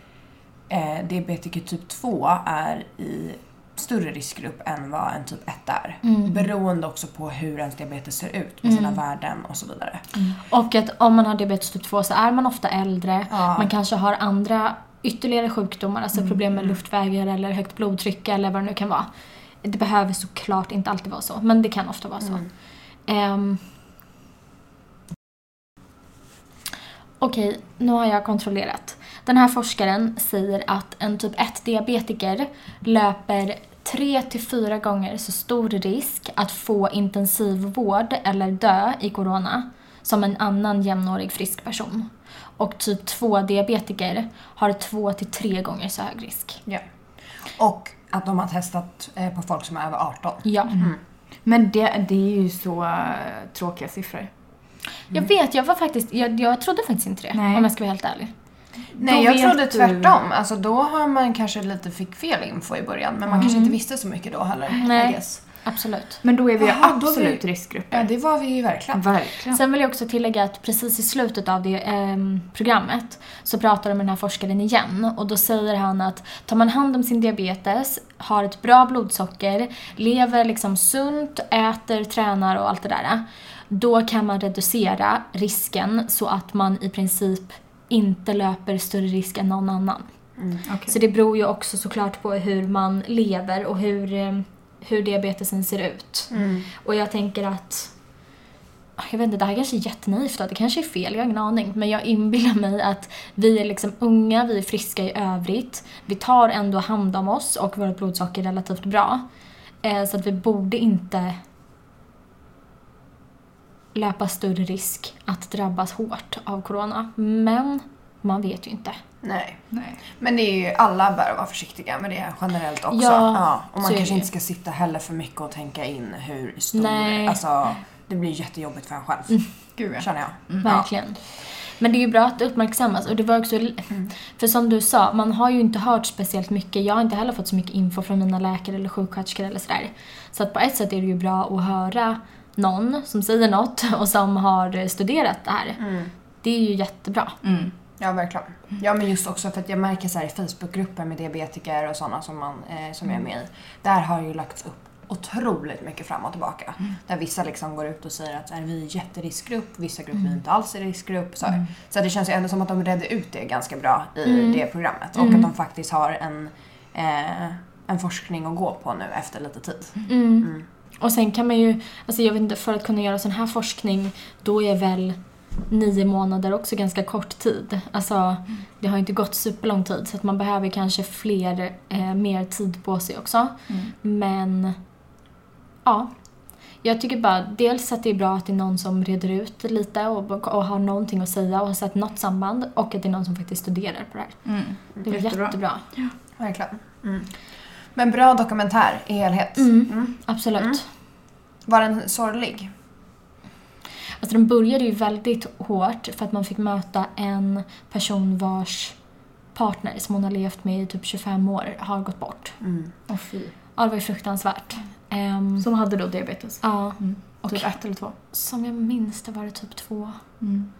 [SPEAKER 3] eh, diabetiker typ 2 är i större riskgrupp än vad en typ 1 är. Beroende också på hur ens diabetes ser ut med sina värden och så vidare.
[SPEAKER 1] Och att om man har diabetes typ 2 så är man ofta äldre,
[SPEAKER 3] Ja.
[SPEAKER 1] man kanske har andra ytterligare sjukdomar, alltså problem med luftvägar eller högt blodtryck eller vad det nu kan vara. Det behöver såklart inte alltid vara så, men det kan ofta vara så. Ehm. Okej, nu har jag kontrollerat. Den här forskaren säger att en typ 1-diabetiker löper 3-4 gånger så stor risk att få intensivvård eller dö i corona som en annan jämnårig frisk person. Och typ 2-diabetiker har 2-3 gånger så hög risk.
[SPEAKER 3] Ja. Och att de har testat eh, på folk som är över 18.
[SPEAKER 1] Ja.
[SPEAKER 2] Men det, det är ju så eh, tråkiga siffror.
[SPEAKER 1] Jag vet, jag var faktiskt, jag, jag trodde faktiskt inte det
[SPEAKER 2] Nej.
[SPEAKER 1] om jag ska vara helt ärlig.
[SPEAKER 3] Nej,
[SPEAKER 2] Då
[SPEAKER 3] jag
[SPEAKER 2] vet
[SPEAKER 3] trodde
[SPEAKER 2] du-
[SPEAKER 3] tvärtom. Alltså då har man kanske lite fick fel info i början, men man kanske inte visste så mycket då heller. I
[SPEAKER 1] Nej.
[SPEAKER 3] guess.
[SPEAKER 1] Absolut.
[SPEAKER 2] Men då är vi ju
[SPEAKER 3] Jaha, då är vi-
[SPEAKER 2] absolut riskgrupper.
[SPEAKER 3] Ja, det var vi ju verkligen.
[SPEAKER 2] Verkligen.
[SPEAKER 1] Sen vill jag också tillägga att precis i slutet av det ehm, programmet så pratar de med den här forskaren igen och då säger han att tar man hand om sin diabetes, har ett bra blodsocker, lever liksom sunt, äter, tränar och allt det där. Då kan man reducera risken så att man i princip inte löper större risk än någon annan.
[SPEAKER 2] Okej.
[SPEAKER 1] Så det beror ju också såklart på hur man lever och hur, eh, hur diabetesen ser ut. Och jag tänker att, ah, jag vet inte, det här kanske är jättenaivt och det kanske är fel, jag har ingen aning. Men jag inbillar mig att vi är liksom unga, vi är friska i övrigt. Vi tar ändå hand om oss och vårt blodsocker relativt bra. Eh, Så att vi borde inte löpa större risk att drabbas hårt av corona. Men man vet ju inte.
[SPEAKER 3] Nej.
[SPEAKER 2] Nej.
[SPEAKER 3] Men det är ju, alla bör vara försiktiga med det generellt också.
[SPEAKER 1] Ja,
[SPEAKER 3] Och
[SPEAKER 1] så
[SPEAKER 3] man
[SPEAKER 1] är
[SPEAKER 3] kanske
[SPEAKER 1] det ju.
[SPEAKER 3] inte ska sitta heller för mycket och tänka in hur stor...
[SPEAKER 1] Nej. Mm.
[SPEAKER 3] Alltså, det blir jättejobbigt för en själv.
[SPEAKER 2] Gud ja.
[SPEAKER 3] Känner jag.
[SPEAKER 1] Verkligen. Men det är ju bra att det uppmärksammas. Och det var också, För som du sa, man har ju inte hört speciellt mycket. Jag har inte heller fått så mycket info från mina läkare eller sjuksköterskor eller sådär. Så att på ett sätt är det ju bra att höra någon som säger något och som har studerat det här. Det är ju jättebra.
[SPEAKER 2] Mm.
[SPEAKER 3] Ja, verkligen. Ja, men just också för att jag märker så här i Facebookgrupper med diabetiker och sådana som, man, eh, som jag är med i. Där har ju lagts upp otroligt mycket fram och tillbaka. Där vissa liksom går ut och säger att så här, vi är jätteriskgrupp, vissa grupper är inte alls i riskgrupp. Så, här. så det känns ju ändå som att de redde ut det ganska bra i det programmet. Och att de faktiskt har en, eh, en forskning att gå på nu efter lite tid.
[SPEAKER 1] Mm. Och sen kan man ju, alltså jag vet inte, för att kunna göra sån här forskning, då är väl nio månader också ganska kort tid. Alltså, det har inte gått superlång tid så att man behöver kanske fler, eh, mer tid på sig också.
[SPEAKER 2] Mm.
[SPEAKER 1] Men, ja. Jag tycker bara dels att det är bra att det är någon som reder ut det lite och, och har någonting att säga och har sett något samband och att det är någon som faktiskt studerar på det här.
[SPEAKER 2] Mm.
[SPEAKER 1] Det är
[SPEAKER 2] Jättebra.
[SPEAKER 1] jättebra.
[SPEAKER 3] Verkligen. Mm. Men bra dokumentär i helhet.
[SPEAKER 1] Mm, Absolut.
[SPEAKER 3] Var den sorglig?
[SPEAKER 1] Alltså den började ju väldigt hårt för att man fick möta en person vars partner som hon har levt med i typ 25 år har gått bort.
[SPEAKER 3] Mm.
[SPEAKER 2] Åh, fy.
[SPEAKER 1] Ja, det var ju fruktansvärt. Ehm,
[SPEAKER 2] Som hade då diabetes.
[SPEAKER 1] ja,
[SPEAKER 2] Och typ ett eller två.
[SPEAKER 1] som jag minns det var det typ två.
[SPEAKER 2] Mm.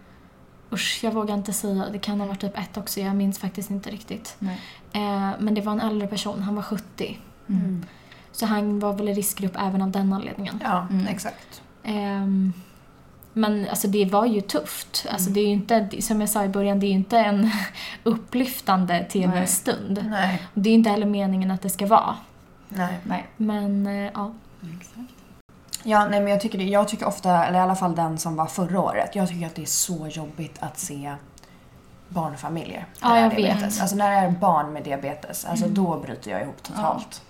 [SPEAKER 1] Usch, jag vågar inte säga. Det kan ha varit typ ett också. Jag minns faktiskt inte riktigt.
[SPEAKER 2] Nej.
[SPEAKER 1] Eh, men det var en äldre person. Han var 70.
[SPEAKER 2] Mm.
[SPEAKER 1] Så han var väl i riskgrupp även av den anledningen.
[SPEAKER 3] Ja,
[SPEAKER 2] Mm.
[SPEAKER 3] exakt.
[SPEAKER 1] Ehm, men alltså det var ju tufft. Alltså
[SPEAKER 3] Mm.
[SPEAKER 1] det är ju inte, som jag sa i början, det är ju inte en upplyftande tv-stund.
[SPEAKER 3] Nej,
[SPEAKER 1] Det är inte heller meningen att det ska vara.
[SPEAKER 3] nej.
[SPEAKER 2] Nej.
[SPEAKER 1] Men eh, ja.
[SPEAKER 2] Exakt.
[SPEAKER 3] Ja, nej, men jag tycker, det, jag tycker ofta, eller i alla fall den som var förra året, jag tycker att det är så jobbigt att se barnfamiljer
[SPEAKER 1] Ja,
[SPEAKER 3] när det är
[SPEAKER 1] jag
[SPEAKER 3] diabetes.
[SPEAKER 1] vet. Mm.
[SPEAKER 3] Alltså när det är barn med diabetes, alltså då bryter jag ihop totalt.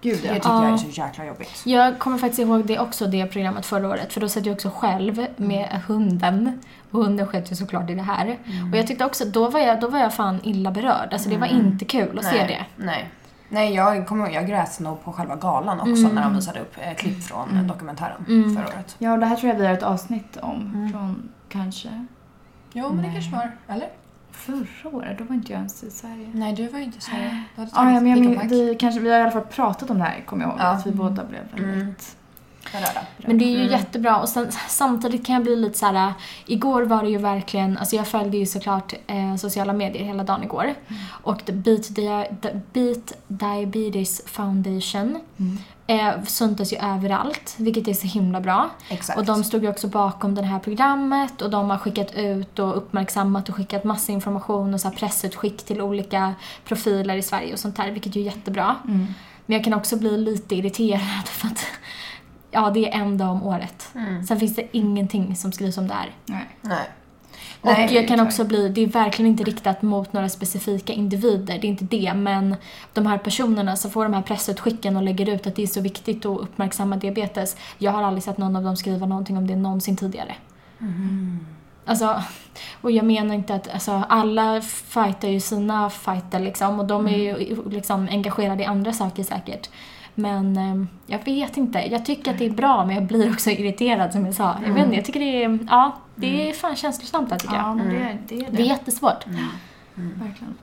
[SPEAKER 2] Gud
[SPEAKER 3] Det
[SPEAKER 2] ja.
[SPEAKER 3] tycker jag är
[SPEAKER 1] Ja.
[SPEAKER 3] så jäkla jobbigt.
[SPEAKER 1] Jag kommer faktiskt ihåg det också, det programmet förra året. För då satt jag också själv
[SPEAKER 3] Mm.
[SPEAKER 1] med hunden. Och hunden sket ju såklart i det här. Och
[SPEAKER 3] Mm.
[SPEAKER 1] jag tyckte också, då var jag, då var jag fan illa berörd. Alltså det var inte kul att se det.
[SPEAKER 3] Nej. Nej, jag, kommer ihåg, jag grät nog på själva galan också
[SPEAKER 1] Mm.
[SPEAKER 3] när de visade upp eh, klipp från eh, dokumentären förra året.
[SPEAKER 2] Ja, och det här tror jag vi har ett avsnitt om från kanske
[SPEAKER 3] Jo, men det kanske var. Eller?
[SPEAKER 2] förra året. Då var inte jag ens i Sverige.
[SPEAKER 3] Nej, du var ju inte så... Du hade
[SPEAKER 1] Ah,
[SPEAKER 2] Ja, ja, men jag,
[SPEAKER 3] pick och
[SPEAKER 2] men,
[SPEAKER 3] pack.
[SPEAKER 2] Mm. vi, kanske, vi har i alla fall pratat om det här, kommer jag ihåg.
[SPEAKER 3] Ja.
[SPEAKER 2] Att vi båda blev väldigt
[SPEAKER 3] berörda.
[SPEAKER 1] Men det är ju jättebra och sen, samtidigt kan jag bli lite så här. igår var det ju verkligen, alltså jag följde ju såklart eh, sociala medier hela dagen igår. Och the Beat, Dia- the Beat Diabetes Foundation
[SPEAKER 2] Mm.
[SPEAKER 1] eh, syntes ju överallt, vilket är så himla bra.
[SPEAKER 3] Exakt.
[SPEAKER 1] Och de stod ju också bakom det här programmet och de har skickat ut och uppmärksammat och skickat massa information och så här pressutskick till olika profiler i Sverige och sånt där, vilket ju är jättebra.
[SPEAKER 2] Mm.
[SPEAKER 1] Men jag kan också bli lite irriterad för att ja, det är en dag om året.
[SPEAKER 3] Mm.
[SPEAKER 1] Sen finns det ingenting som skrivs om det här.
[SPEAKER 2] Nej.
[SPEAKER 3] Nej.
[SPEAKER 1] Och
[SPEAKER 3] Nej,
[SPEAKER 1] jag kan
[SPEAKER 3] tyvärr.
[SPEAKER 1] också bli, det är verkligen inte riktat mot några specifika individer, det är inte det, men de här personerna som får de här pressutskicken och lägger ut att det är så viktigt att uppmärksamma diabetes. Jag har aldrig sett någon av dem skriva någonting om det någonsin tidigare.
[SPEAKER 3] Mm-hmm.
[SPEAKER 1] Alltså, och jag menar inte att, alltså alla fightar ju sina fighter liksom och de är ju liksom engagerade i andra saker säkert. Men eh, jag vet inte, jag tycker att det är bra men jag blir också irriterad som jag sa. Jag vet inte, jag tycker det är, ja, det är fan känslosamt där tycker jag.
[SPEAKER 2] Ja, men det, det är
[SPEAKER 1] Det är
[SPEAKER 2] det.
[SPEAKER 1] jättesvårt.
[SPEAKER 2] Verkligen.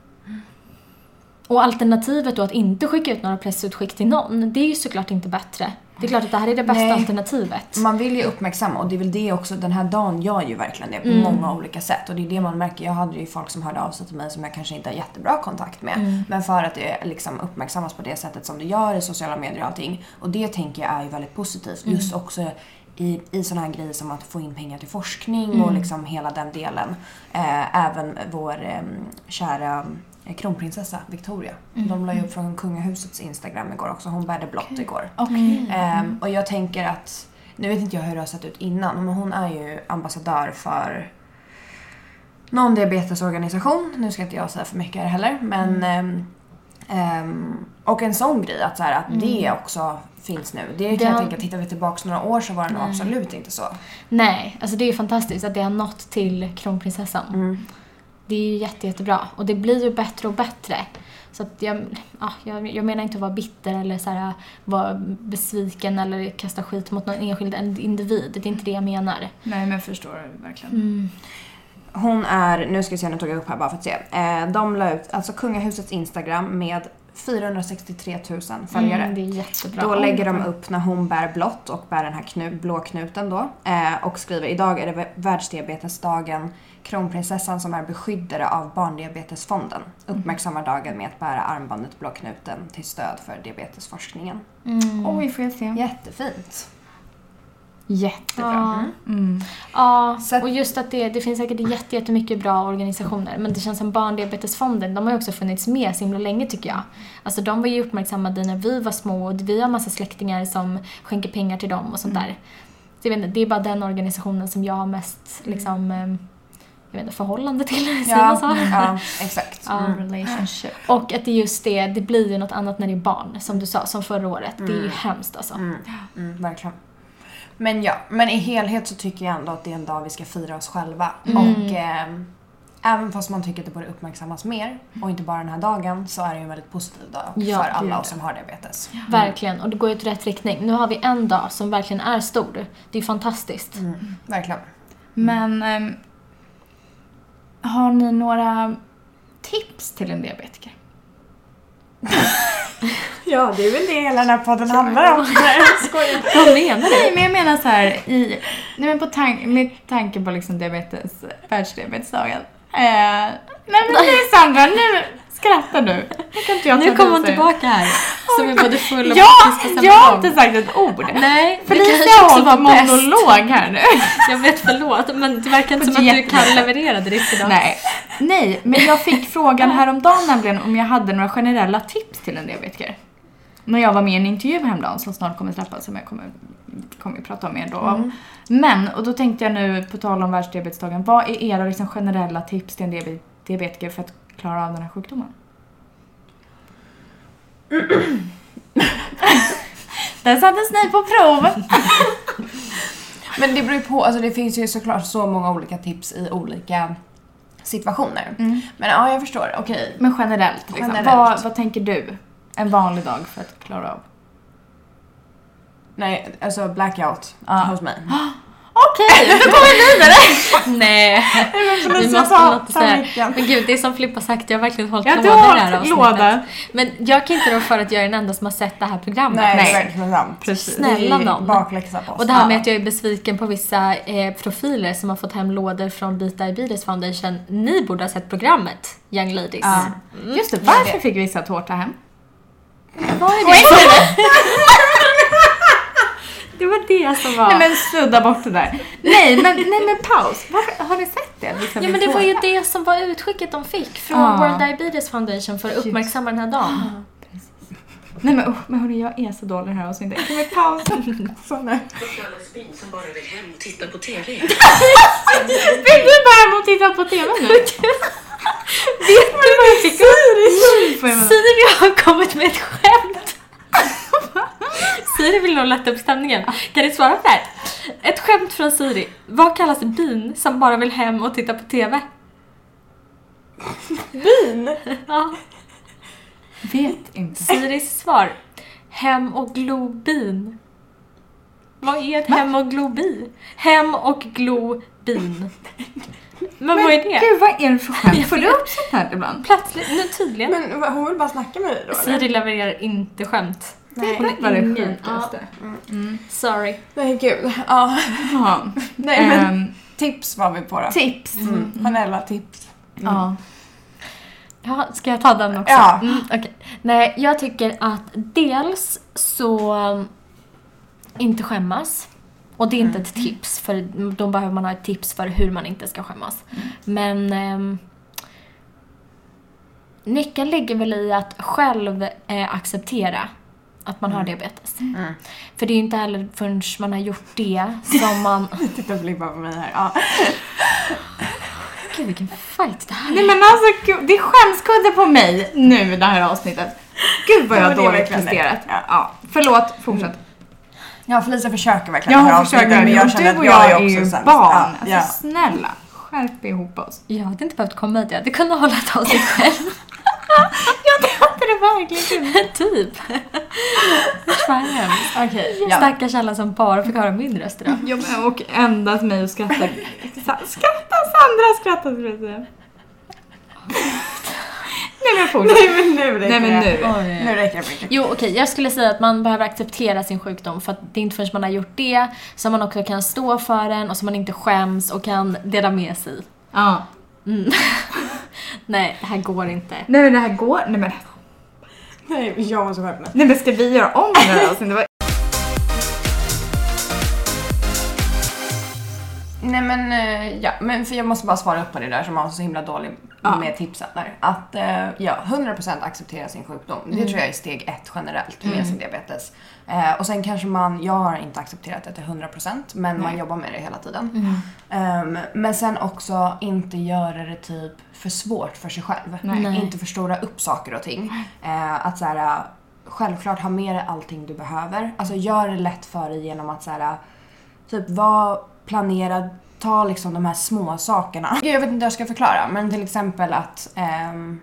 [SPEAKER 1] Och alternativet då att inte skicka ut några pressutskick till någon, det är ju såklart inte bättre. Det är klart att det här är det bästa
[SPEAKER 3] Nej.
[SPEAKER 1] alternativet.
[SPEAKER 3] Man vill ju uppmärksamma och det är väl det också, den här dagen gör ju verkligen det på många olika sätt. Och det är det man märker. Jag hade ju folk som hörde av sig till mig som jag kanske inte har jättebra kontakt med.
[SPEAKER 1] Mm.
[SPEAKER 3] Men för att det liksom uppmärksammas på det sättet som det gör i sociala medier och allting. Och det tänker jag är ju väldigt positivt. Just också i, i sådana här grejer som att få in pengar till forskning och liksom hela den delen. Eh, även vår eh, kära eh, kronprinsessa Victoria. De la ju upp från kungahusets Instagram igår också. Hon bärde blått igår.
[SPEAKER 2] Okej.
[SPEAKER 3] Ehm, och jag tänker att, nu vet inte jag hur det har sett ut innan, men hon är ju ambassadör för någon diabetesorganisation. Nu ska inte jag säga för mycket här heller, men ehm, ehm, och en sån grej att, så här, att det också finns nu. Det kan jag
[SPEAKER 1] Det-
[SPEAKER 3] tänka, tittar vi tillbaks några år så var det nog absolut inte så.
[SPEAKER 1] Nej, alltså det är ju fantastiskt att det har nått till kronprinsessan.
[SPEAKER 3] Mm.
[SPEAKER 1] Det är ju jätte, jättebra och det blir ju bättre och bättre. Så att jag, ja, jag, jag menar inte att vara bitter eller så här, vara besviken eller kasta skit mot någon enskild individ. Det är inte det jag menar. Mm,
[SPEAKER 2] Nej, men förstår
[SPEAKER 3] Mm.
[SPEAKER 2] verkligen.
[SPEAKER 3] Hon är, nu ska vi se, nu tog jag upp här bara för att se. Eh, de la ut, alltså kungahusets Instagram med 463 000 följare.
[SPEAKER 1] Mm, det är jättebra.
[SPEAKER 3] Då lägger de upp när hon bär blått och bär den här knu, blå knuten då. Eh, och skriver idag är det världsdiabetesdagen. Kronprinsessan som är beskyddare av barndiabetesfonden uppmärksammar dagen med att bära armbandet blå knuten till stöd för diabetesforskningen.
[SPEAKER 1] Mm.
[SPEAKER 2] Oj, får jag se?
[SPEAKER 3] Jättefint.
[SPEAKER 2] Jättebra.
[SPEAKER 1] Ja.
[SPEAKER 2] Mm.
[SPEAKER 1] Ja,
[SPEAKER 3] Så att-
[SPEAKER 1] och just att det, det finns säkert jätte- jättemycket bra organisationer men det känns som Barndiabetesfonden, de har ju också funnits med så himla länge tycker jag. Alltså de var ju uppmärksammade när vi var små och vi har massa släktingar som skänker pengar till dem och sånt
[SPEAKER 3] Mm.
[SPEAKER 1] där. Så jag vet inte, det är bara den organisationen som jag har mest liksom, eh, jag vet inte, förhållande till, säger man så?
[SPEAKER 3] ja exakt.
[SPEAKER 1] Ja.
[SPEAKER 2] Relationship.
[SPEAKER 1] Och att det är just det, det blir ju något annat när det är barn, som du sa, som förra året. Det är ju hemskt alltså.
[SPEAKER 3] Mm, verkligen. Men ja, men i helhet så tycker jag ändå att det är en dag vi ska fira oss själva.
[SPEAKER 1] Mm.
[SPEAKER 3] Och ehm, även fast man tycker att det borde uppmärksammas mer och inte bara den här dagen så är det ju en väldigt positiv dag
[SPEAKER 1] Ja,
[SPEAKER 3] för alla
[SPEAKER 2] gud.
[SPEAKER 3] oss som har diabetes.
[SPEAKER 1] Verkligen, och det går ju åt rätt riktning. Nu har vi en dag som verkligen är stor. Det är ju fantastiskt.
[SPEAKER 3] Mm, verkligen.
[SPEAKER 2] Men ehm, har ni några tips till en diabetiker?
[SPEAKER 3] Ja, det är väl det hela den här podden handlar om. Mm.
[SPEAKER 1] Vad menar du?
[SPEAKER 2] Nej, men jag menar så här i... Nej, men på tank, med tanke på liksom diabetes, världsdiabetesdagen. Eh, nej, men nu Sandra, nu skrattar du. Nu kan inte jag ta
[SPEAKER 1] Nu kommer hon
[SPEAKER 2] till sig.
[SPEAKER 1] tillbaka här. Som är både full och
[SPEAKER 2] Ja,
[SPEAKER 1] på samma
[SPEAKER 2] jag har
[SPEAKER 1] gång.
[SPEAKER 2] inte sagt ett ord.
[SPEAKER 1] Nej, det
[SPEAKER 2] Felicia
[SPEAKER 1] kanske
[SPEAKER 2] har
[SPEAKER 1] också
[SPEAKER 2] hållit
[SPEAKER 1] var bäst.
[SPEAKER 2] monolog här nu.
[SPEAKER 1] Jag vet, förlåt. Men det verkar inte
[SPEAKER 2] Det
[SPEAKER 1] som
[SPEAKER 2] är
[SPEAKER 1] att du
[SPEAKER 2] jättebra.
[SPEAKER 1] kan leverera direkt idag.
[SPEAKER 2] Nej. Nej, men jag fick frågan häromdagen nämligen om jag hade några generella tips till en diabetiker. När jag var med i en intervju häromdagen som snart kommer släppas som jag kommer, kommer prata om er då. Men, och då tänkte jag nu på tal om världsdiabetesdagen, vad är era liksom generella tips till en diabe- diabetiker för att klara av den här sjukdomen? Där sattes ni på prov!
[SPEAKER 3] Men det beror ju på, alltså det finns ju såklart så många olika tips i olika situationer. Men ja, jag förstår. Okej.
[SPEAKER 2] Mm. Men generellt, liksom,
[SPEAKER 3] Generellt.
[SPEAKER 2] Vad, vad tänker du en vanlig dag för att klara av?
[SPEAKER 3] Nej, alltså blackout hos mig.
[SPEAKER 1] Okej, då går vi vidare! Nej, vi
[SPEAKER 3] Felicia,
[SPEAKER 1] måste
[SPEAKER 3] ta,
[SPEAKER 1] ha något att
[SPEAKER 3] ta
[SPEAKER 1] säga.
[SPEAKER 3] micken.
[SPEAKER 1] Men gud, det är som Filippa sagt, jag har verkligen hållit
[SPEAKER 3] Jag
[SPEAKER 1] låda i det här
[SPEAKER 3] drar
[SPEAKER 1] avsnittet.
[SPEAKER 3] låda.
[SPEAKER 1] Men jag kan inte rå för att jag är den enda som har sett det här programmet.
[SPEAKER 3] Nej, det
[SPEAKER 2] Nej.
[SPEAKER 3] är verkligen sant.
[SPEAKER 2] Precis.
[SPEAKER 1] Snälla
[SPEAKER 3] Det är
[SPEAKER 1] nån.
[SPEAKER 3] Bakläxa på oss.
[SPEAKER 1] Och det här med
[SPEAKER 3] Ja.
[SPEAKER 1] att jag är besviken på vissa eh, profiler som har fått hem lådor från Beat Diabetes Foundation. Ni borde ha sett programmet Young Ladies. Mm.
[SPEAKER 2] Ja. Just det, varför fick vissa tårta hem?
[SPEAKER 1] Vad är det? det var det som var...
[SPEAKER 2] Nej men snudda bort det där. Nej men, nej, men paus, varför, har ni sett det? Vissa
[SPEAKER 1] Ja men
[SPEAKER 2] blir
[SPEAKER 1] det var
[SPEAKER 2] tårta.
[SPEAKER 1] ju det som var utskicket de fick från
[SPEAKER 2] Ja.
[SPEAKER 1] World Diabetes Foundation för att uppmärksamma den här dagen.
[SPEAKER 2] Nej men, oh, men hörni jag är så dålig i det här avsnittet. Kan vi pausa?
[SPEAKER 3] Så nu.
[SPEAKER 4] Charlottesbyn som bara vill hem och titta på TV.
[SPEAKER 2] Vill du bara hem och titta på TV nu?
[SPEAKER 1] Vet du vad jag fick
[SPEAKER 2] Får jag-
[SPEAKER 1] Siri har kommit med ett skämt. Siri vill nog lätta upp stämningen. Kan du svara på det här? Ett skämt från Siri. Vad kallas bin som bara vill hem och titta på TV?
[SPEAKER 3] Bin!
[SPEAKER 1] Ja.
[SPEAKER 2] Vet inte.
[SPEAKER 1] Siris svar. Hem och globin. Vad är ett hem och globi? Hem och globin. Men vad är det?
[SPEAKER 2] Gud vad är det för skämt?
[SPEAKER 1] Jag
[SPEAKER 2] Får du
[SPEAKER 1] vet.
[SPEAKER 2] upp sånt här ibland?
[SPEAKER 1] Plötsligt, nu tydligen.
[SPEAKER 3] Men vad, hon vill bara snacka med dig då eller?
[SPEAKER 1] Siri levererar inte skämt.
[SPEAKER 3] Nej.
[SPEAKER 1] Hon
[SPEAKER 2] Det var det
[SPEAKER 1] ingen-
[SPEAKER 2] sjukaste. Mm.
[SPEAKER 1] Ja, sorry.
[SPEAKER 3] Nej gud. Ja.
[SPEAKER 2] Jaha.
[SPEAKER 3] Nej men
[SPEAKER 2] Ehm,
[SPEAKER 3] tips var vi på då.
[SPEAKER 2] tips.
[SPEAKER 3] Mm. Generella tips.
[SPEAKER 2] Ja.
[SPEAKER 1] Ja, ska jag ta den också?
[SPEAKER 3] Ja.
[SPEAKER 1] Mm, okej. Nej, jag tycker att dels så um, inte skämmas. Och det är inte ett tips, för då behöver man ha ett tips för hur man inte ska skämmas. Men ehm, nyckeln ligger väl i att själv eh, acceptera att man har diabetes. För det är ju inte heller förrän man har gjort det som man...
[SPEAKER 3] Titta Filippa på mig här. Ja.
[SPEAKER 1] Gud vilken fight det här är.
[SPEAKER 2] Nej men alltså gud, det är skämskudde på mig nu det här avsnittet. Gud vad
[SPEAKER 3] Ja,
[SPEAKER 2] jag
[SPEAKER 3] men
[SPEAKER 2] har
[SPEAKER 3] det är
[SPEAKER 2] dåligt
[SPEAKER 3] verkligen det.
[SPEAKER 2] presterat. Ja, förlåt, fortsätt.
[SPEAKER 3] ja Felicia försöker verkligen.
[SPEAKER 2] Jag
[SPEAKER 3] höra
[SPEAKER 2] har
[SPEAKER 3] av sig,
[SPEAKER 2] försökt
[SPEAKER 3] men
[SPEAKER 2] men
[SPEAKER 3] jag
[SPEAKER 2] och
[SPEAKER 3] känner
[SPEAKER 2] du
[SPEAKER 3] att
[SPEAKER 2] och jag
[SPEAKER 3] jag
[SPEAKER 2] är
[SPEAKER 3] också
[SPEAKER 2] ju
[SPEAKER 3] sämst. Ja,
[SPEAKER 2] barn.
[SPEAKER 3] ja.
[SPEAKER 2] Alltså snälla, skärp ihop oss.
[SPEAKER 1] Jag hade inte behövt komma hit, jag hade kunnat hålla ett avsnitt själv. jag hade det verkligen Typ. Usch, vad hemskt.
[SPEAKER 3] Okej, ja.
[SPEAKER 1] Stackars alla som bara fick höra min röst idag.
[SPEAKER 2] Ja, men, och endast mig och skrattar. Sa- Skratta Sandra skrattar skulle jag säga. Nej men fortsätt.
[SPEAKER 3] Nej men nu
[SPEAKER 2] Nej
[SPEAKER 3] räcker
[SPEAKER 2] men
[SPEAKER 3] det.
[SPEAKER 2] nu.
[SPEAKER 3] Nu räcker det mycket.
[SPEAKER 1] Mm. Jo okej, jag skulle säga att man behöver acceptera sin sjukdom för att det är inte förrän man har gjort det som man också kan stå för den och som man inte skäms och kan dela med sig.
[SPEAKER 2] Ja.
[SPEAKER 1] Mm. Nej, det här går inte.
[SPEAKER 2] Nej men det här går. Nej men,
[SPEAKER 3] Nej, jag måste skärpa mig.
[SPEAKER 2] nej, men ska vi göra om det här avsnittet? Det var-
[SPEAKER 3] Nej men eh, ja, men för jag måste bara svara upp på det där som man var så himla dålig
[SPEAKER 2] Ja.
[SPEAKER 3] med tipsen där. Att eh, ja, 100% acceptera sin sjukdom. Det tror jag är steg ett generellt med sin diabetes. Eh, och sen kanske man, jag har inte accepterat det till 100% men man jobbar med det hela tiden. Ehm, men sen också inte göra det typ för svårt för sig själv.
[SPEAKER 1] Nej.
[SPEAKER 3] Inte förstora upp saker och ting. Eh, att så här, självklart ha med dig allting du behöver. Alltså gör det lätt för dig genom att så här, Typ var planerad, ta liksom de här små sakerna. Jag vet inte hur jag ska förklara men till exempel att, ehm,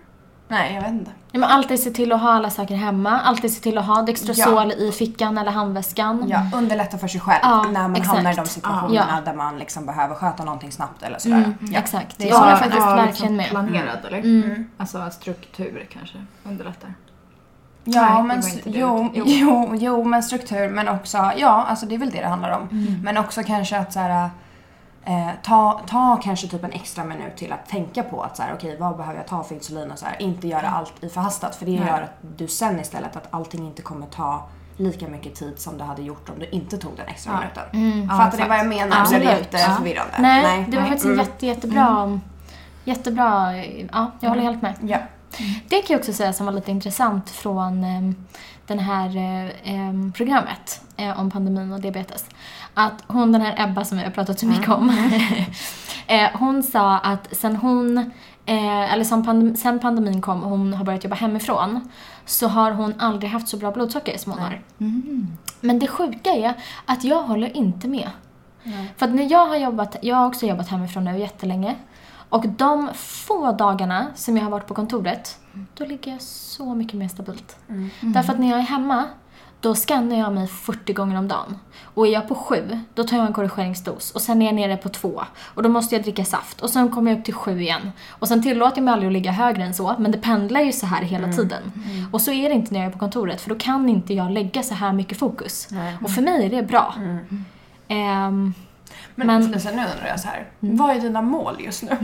[SPEAKER 3] nej jag vet inte.
[SPEAKER 1] Ja, men alltid se till att ha alla saker hemma, alltid se till att ha Dextrosol i fickan eller handväskan.
[SPEAKER 3] Ja, underlätta för sig själv
[SPEAKER 1] Mm. Ja,
[SPEAKER 3] när man
[SPEAKER 1] exakt.
[SPEAKER 3] hamnar i de situationerna
[SPEAKER 1] Ja. Mm,
[SPEAKER 3] där man liksom behöver sköta någonting snabbt eller sådär. ja.
[SPEAKER 1] Exakt,
[SPEAKER 3] Det är
[SPEAKER 1] jag håller
[SPEAKER 3] så.
[SPEAKER 1] faktiskt
[SPEAKER 2] Ja,
[SPEAKER 1] verkligen med.
[SPEAKER 2] liksom Planerad eller?
[SPEAKER 1] Mm.
[SPEAKER 2] Alltså struktur kanske underlättar.
[SPEAKER 3] Ja,
[SPEAKER 2] Nej, det
[SPEAKER 3] men
[SPEAKER 2] var
[SPEAKER 3] s-
[SPEAKER 2] inte det
[SPEAKER 3] jo,
[SPEAKER 2] utan-
[SPEAKER 3] jo.
[SPEAKER 2] jo.
[SPEAKER 3] Jo, men struktur men också, ja alltså det är väl det det handlar om.
[SPEAKER 1] Mm.
[SPEAKER 3] Men också kanske att så här, eh, ta, ta kanske typ en extra minut till att tänka på att så här, okej vad behöver jag ta för insulin och så här, inte göra
[SPEAKER 1] Mm.
[SPEAKER 3] allt i förhastat för det
[SPEAKER 2] Nej.
[SPEAKER 3] gör att du sen istället att allting inte kommer ta lika mycket tid som det hade gjort om du inte tog den extra
[SPEAKER 2] Ja.
[SPEAKER 3] minuten.
[SPEAKER 1] Mm.
[SPEAKER 2] Ja,
[SPEAKER 3] Fattar ni vad jag
[SPEAKER 2] exakt.
[SPEAKER 3] menar?
[SPEAKER 1] Ja.
[SPEAKER 3] Blir det
[SPEAKER 1] Absolut.
[SPEAKER 3] jätteförvirrande?
[SPEAKER 1] Nej, det var faktiskt en
[SPEAKER 3] Mm.
[SPEAKER 1] jätte, jättebra... Jättebra... Ja, jag håller helt med.
[SPEAKER 3] Ja.
[SPEAKER 1] Det kan jag också säga som var lite intressant från eh, den här eh, eh, programmet eh, om pandemin och diabetes. Att hon, den här Ebba som vi har pratat så mycket om, eh, hon sa att sen hon, eh, eller som pandem- sen pandemin kom och hon har börjat jobba hemifrån, så har hon aldrig haft så bra blodsocker som hon har. Men det sjuka är att jag håller inte med. För att när jag har jobbat, jag har också jobbat hemifrån nu jättelänge. Och de få dagarna som jag har varit på kontoret, då ligger jag så mycket mer stabilt.
[SPEAKER 3] Mm.
[SPEAKER 1] Därför att när jag är hemma, då skannar jag mig 40 gånger om dagen. Och är jag på 7, då tar jag en korrigeringsdos. Och sen är jag nere på 2. Och då måste jag dricka saft. Och sen kommer jag upp till 7 igen. Och sen tillåter jag mig aldrig att ligga högre än så, men det pendlar ju så här hela
[SPEAKER 3] Mm.
[SPEAKER 1] tiden. Och så är det inte när jag är på kontoret, för då kan inte jag lägga så här mycket fokus. Och för mig är det bra.
[SPEAKER 3] Mm.
[SPEAKER 1] Ehm,
[SPEAKER 3] Men,
[SPEAKER 1] Men- Mm.
[SPEAKER 3] Lisa, nu undrar jag så här. Vad är dina mål just nu?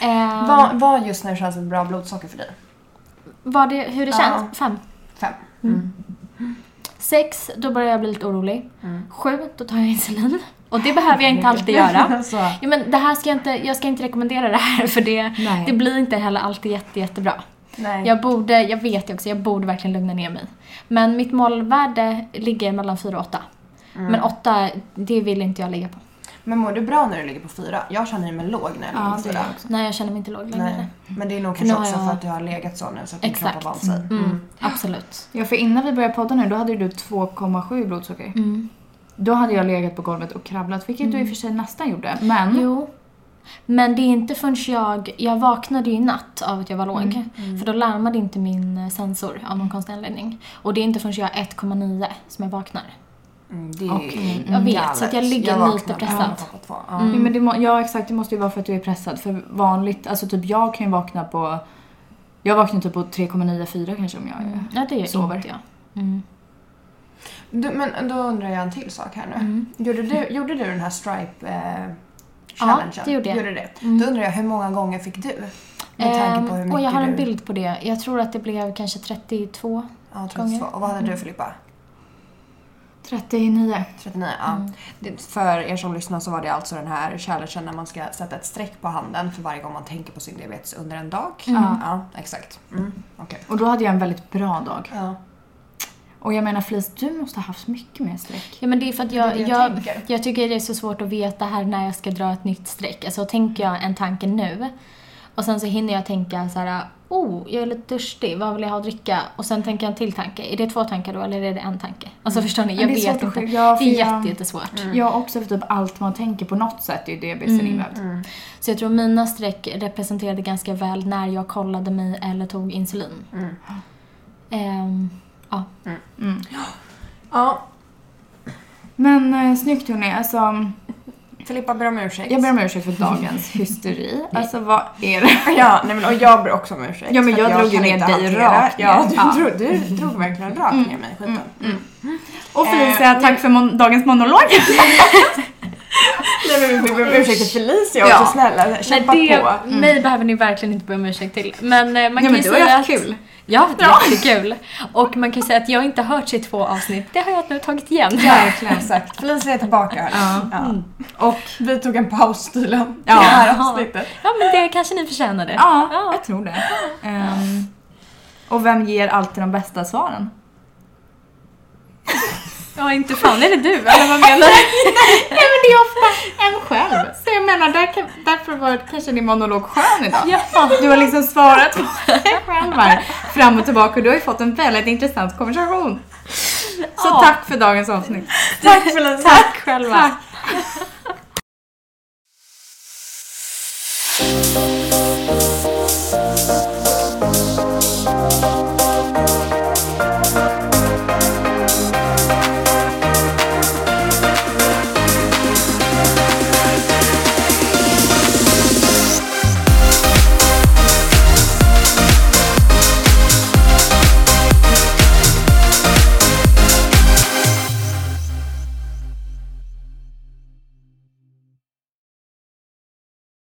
[SPEAKER 1] ehm,
[SPEAKER 3] Vad, vad just nu känns ett bra blodsocker för dig?
[SPEAKER 1] Vad det, hur det
[SPEAKER 3] Ja.
[SPEAKER 1] känns? Fem.
[SPEAKER 3] Fem.
[SPEAKER 1] Sex, då börjar jag bli lite orolig. Sju, då tar jag insulin. Och det behöver jag inte alltid göra.
[SPEAKER 3] Så.
[SPEAKER 1] Ja, men det här ska jag, inte, jag ska inte rekommendera det här för det,
[SPEAKER 2] Nej.
[SPEAKER 1] det blir inte heller alltid jätte, jättebra.
[SPEAKER 3] Nej.
[SPEAKER 1] Jag borde, jag vet ju också, jag borde verkligen lugna ner mig. Men mitt målvärde ligger mellan fyra och åtta. Men åtta, det vill inte jag ligga på.
[SPEAKER 3] Men mår du bra när du ligger på fyra? Jag känner mig låg när jag ligger
[SPEAKER 2] Ja,
[SPEAKER 1] Mm.
[SPEAKER 2] det
[SPEAKER 3] på
[SPEAKER 2] gör
[SPEAKER 3] fyra.
[SPEAKER 2] jag också.
[SPEAKER 1] Nej, jag känner mig inte låg längre.
[SPEAKER 3] Nej. Men det är nog
[SPEAKER 1] För nu
[SPEAKER 3] kanske
[SPEAKER 1] har
[SPEAKER 3] också
[SPEAKER 1] jag-
[SPEAKER 3] för att du har legat så nu så att din kropp har
[SPEAKER 1] Exakt.
[SPEAKER 3] vant sig.
[SPEAKER 1] Mm, Absolut.
[SPEAKER 2] Ja, för innan vi började podda nu, då hade ju du 2,7 i blodsocker.
[SPEAKER 1] Mm.
[SPEAKER 2] Då hade jag legat på golvet och krabblat, vilket du i och för sig nästan gjorde.
[SPEAKER 3] Mm.
[SPEAKER 2] Men
[SPEAKER 1] Jo. Men det är inte förrän jag... Jag vaknade ju i natt av att jag var låg.
[SPEAKER 3] Mm,
[SPEAKER 1] För då larmade inte min eh, sensor av någon konstig anledning. Och det är inte förrän jag är 1,9 som jag vaknar.
[SPEAKER 3] Mm, det är
[SPEAKER 2] Okej.
[SPEAKER 1] Jag vet, så att jag ligger
[SPEAKER 3] vaknar
[SPEAKER 1] lite Mm.
[SPEAKER 3] när
[SPEAKER 1] pressad.
[SPEAKER 3] jag har tappat två. Ja.
[SPEAKER 2] Jo, men det må, ja, exakt. Det måste ju vara för att du är pressad. För vanligt, alltså typ jag kan ju vakna på... Jag vaknar typ på 3,94 kanske om jag
[SPEAKER 3] Mm.
[SPEAKER 2] är...
[SPEAKER 1] Mm. Ja, det gör
[SPEAKER 2] Sover.
[SPEAKER 1] inte jag. Mm.
[SPEAKER 3] Du, men då undrar jag en till sak här nu. Gjorde, du, gjorde du den här stripe eh,
[SPEAKER 1] Mm. Ja,
[SPEAKER 3] challengen?
[SPEAKER 1] det gjorde jag.
[SPEAKER 3] Gjorde det? Då undrar jag hur många gånger fick du? Med tanke på hur
[SPEAKER 1] Ehm,
[SPEAKER 3] mycket
[SPEAKER 1] och jag har en
[SPEAKER 3] du...
[SPEAKER 1] bild på det. Jag tror att det blev kanske 32.
[SPEAKER 3] Ja, 32. Och vad hade du Filippa?
[SPEAKER 2] 39.
[SPEAKER 3] 39, ja. Det, för er som lyssnar så var det alltså den här challengen när man ska sätta ett streck på handen för varje gång man tänker på sin diabetes under en dag. Ja, exakt. Mm. Okej.
[SPEAKER 2] Och då hade jag en väldigt bra dag.
[SPEAKER 3] Ja.
[SPEAKER 2] Och jag menar Felice, du måste ha haft mycket mer streck.
[SPEAKER 1] Ja, men det är för att jag,
[SPEAKER 3] det jag
[SPEAKER 1] jag,
[SPEAKER 3] tänker.
[SPEAKER 1] jag, tycker det är så svårt att veta här när jag ska dra ett nytt streck. Alltså tänker jag en tanke nu och sen så hinner jag tänka så här, oh, jag är lite törstig, vad vill jag ha att dricka? Och sen tänker jag en till tanke. Är det två tankar då eller är det en tanke? Alltså förstår ni? Jag
[SPEAKER 2] det är svårt
[SPEAKER 1] vet
[SPEAKER 2] att
[SPEAKER 1] inte.
[SPEAKER 2] skilja, för
[SPEAKER 1] det är
[SPEAKER 2] jag-
[SPEAKER 1] jätte, jättesvårt.
[SPEAKER 2] Jag också, för typ allt man tänker på något sätt är ju diabetesen
[SPEAKER 1] Mm.
[SPEAKER 2] invävt.
[SPEAKER 3] Mm,
[SPEAKER 1] Så jag tror mina streck representerade ganska väl när jag kollade mig eller tog insulin.
[SPEAKER 3] mm.
[SPEAKER 1] Ehm, ja.
[SPEAKER 3] ja.
[SPEAKER 2] Men eh, snyggt hörni, alltså.
[SPEAKER 3] Filippa ber om ursäkt.
[SPEAKER 2] Jag ber om ursäkt för dagens hysteri. Alltså vad är det?
[SPEAKER 3] Ja, nej men, och jag ber också om ursäkt.
[SPEAKER 2] Ja, men
[SPEAKER 3] för
[SPEAKER 2] jag
[SPEAKER 3] att
[SPEAKER 2] drog ju
[SPEAKER 3] kan
[SPEAKER 2] ner
[SPEAKER 3] inte
[SPEAKER 2] dig
[SPEAKER 3] hantera-
[SPEAKER 2] rakt ner.
[SPEAKER 3] Ja, Mm. du,
[SPEAKER 2] Ja.
[SPEAKER 3] Drog, du drog verkligen rakt ner mig i skiten.
[SPEAKER 2] Och Felicia, tack för mon- dagens monolog.
[SPEAKER 3] Nej men vi ber om ursäkt till Felicia
[SPEAKER 2] Ja.
[SPEAKER 3] också snälla. Kämpa
[SPEAKER 1] Nej, det, Mm.
[SPEAKER 3] på.
[SPEAKER 1] Mig behöver ni verkligen inte be om ursäkt till. Men eh, man
[SPEAKER 2] Ja,
[SPEAKER 1] kan
[SPEAKER 2] men
[SPEAKER 1] ju
[SPEAKER 2] du har ju
[SPEAKER 1] säga
[SPEAKER 2] haft
[SPEAKER 1] att-
[SPEAKER 2] kul.
[SPEAKER 1] Ja, det är jättekul. Och man kan ju säga att jag inte har hört sig i två avsnitt. Det har jag nu tagit igen.
[SPEAKER 2] Verkligen.
[SPEAKER 3] Exakt. Felicia är tillbaka. Ja. Mm.
[SPEAKER 2] Och
[SPEAKER 3] Vi tog en paus tydligen.
[SPEAKER 2] Ja.
[SPEAKER 3] Ja. Det här avsnittet.
[SPEAKER 1] Ja, men det kanske ni förtjänade.
[SPEAKER 2] Ja, jag tror det. Ehm, och vem ger alltid de bästa svaren?
[SPEAKER 1] Ja, inte fan är det du, eller vad menar du?
[SPEAKER 2] Nej men det är ofta en själv. Så jag menar, där kan, därför var kanske din monolog skön idag.
[SPEAKER 1] Ja.
[SPEAKER 2] Du har liksom svarat på dig själv här, fram och tillbaka och du har ju fått en väldigt intressant konversation. Så
[SPEAKER 1] Ja.
[SPEAKER 2] tack för dagens avsnitt.
[SPEAKER 3] Tack Felicia.
[SPEAKER 1] Tack själva.
[SPEAKER 2] Tack.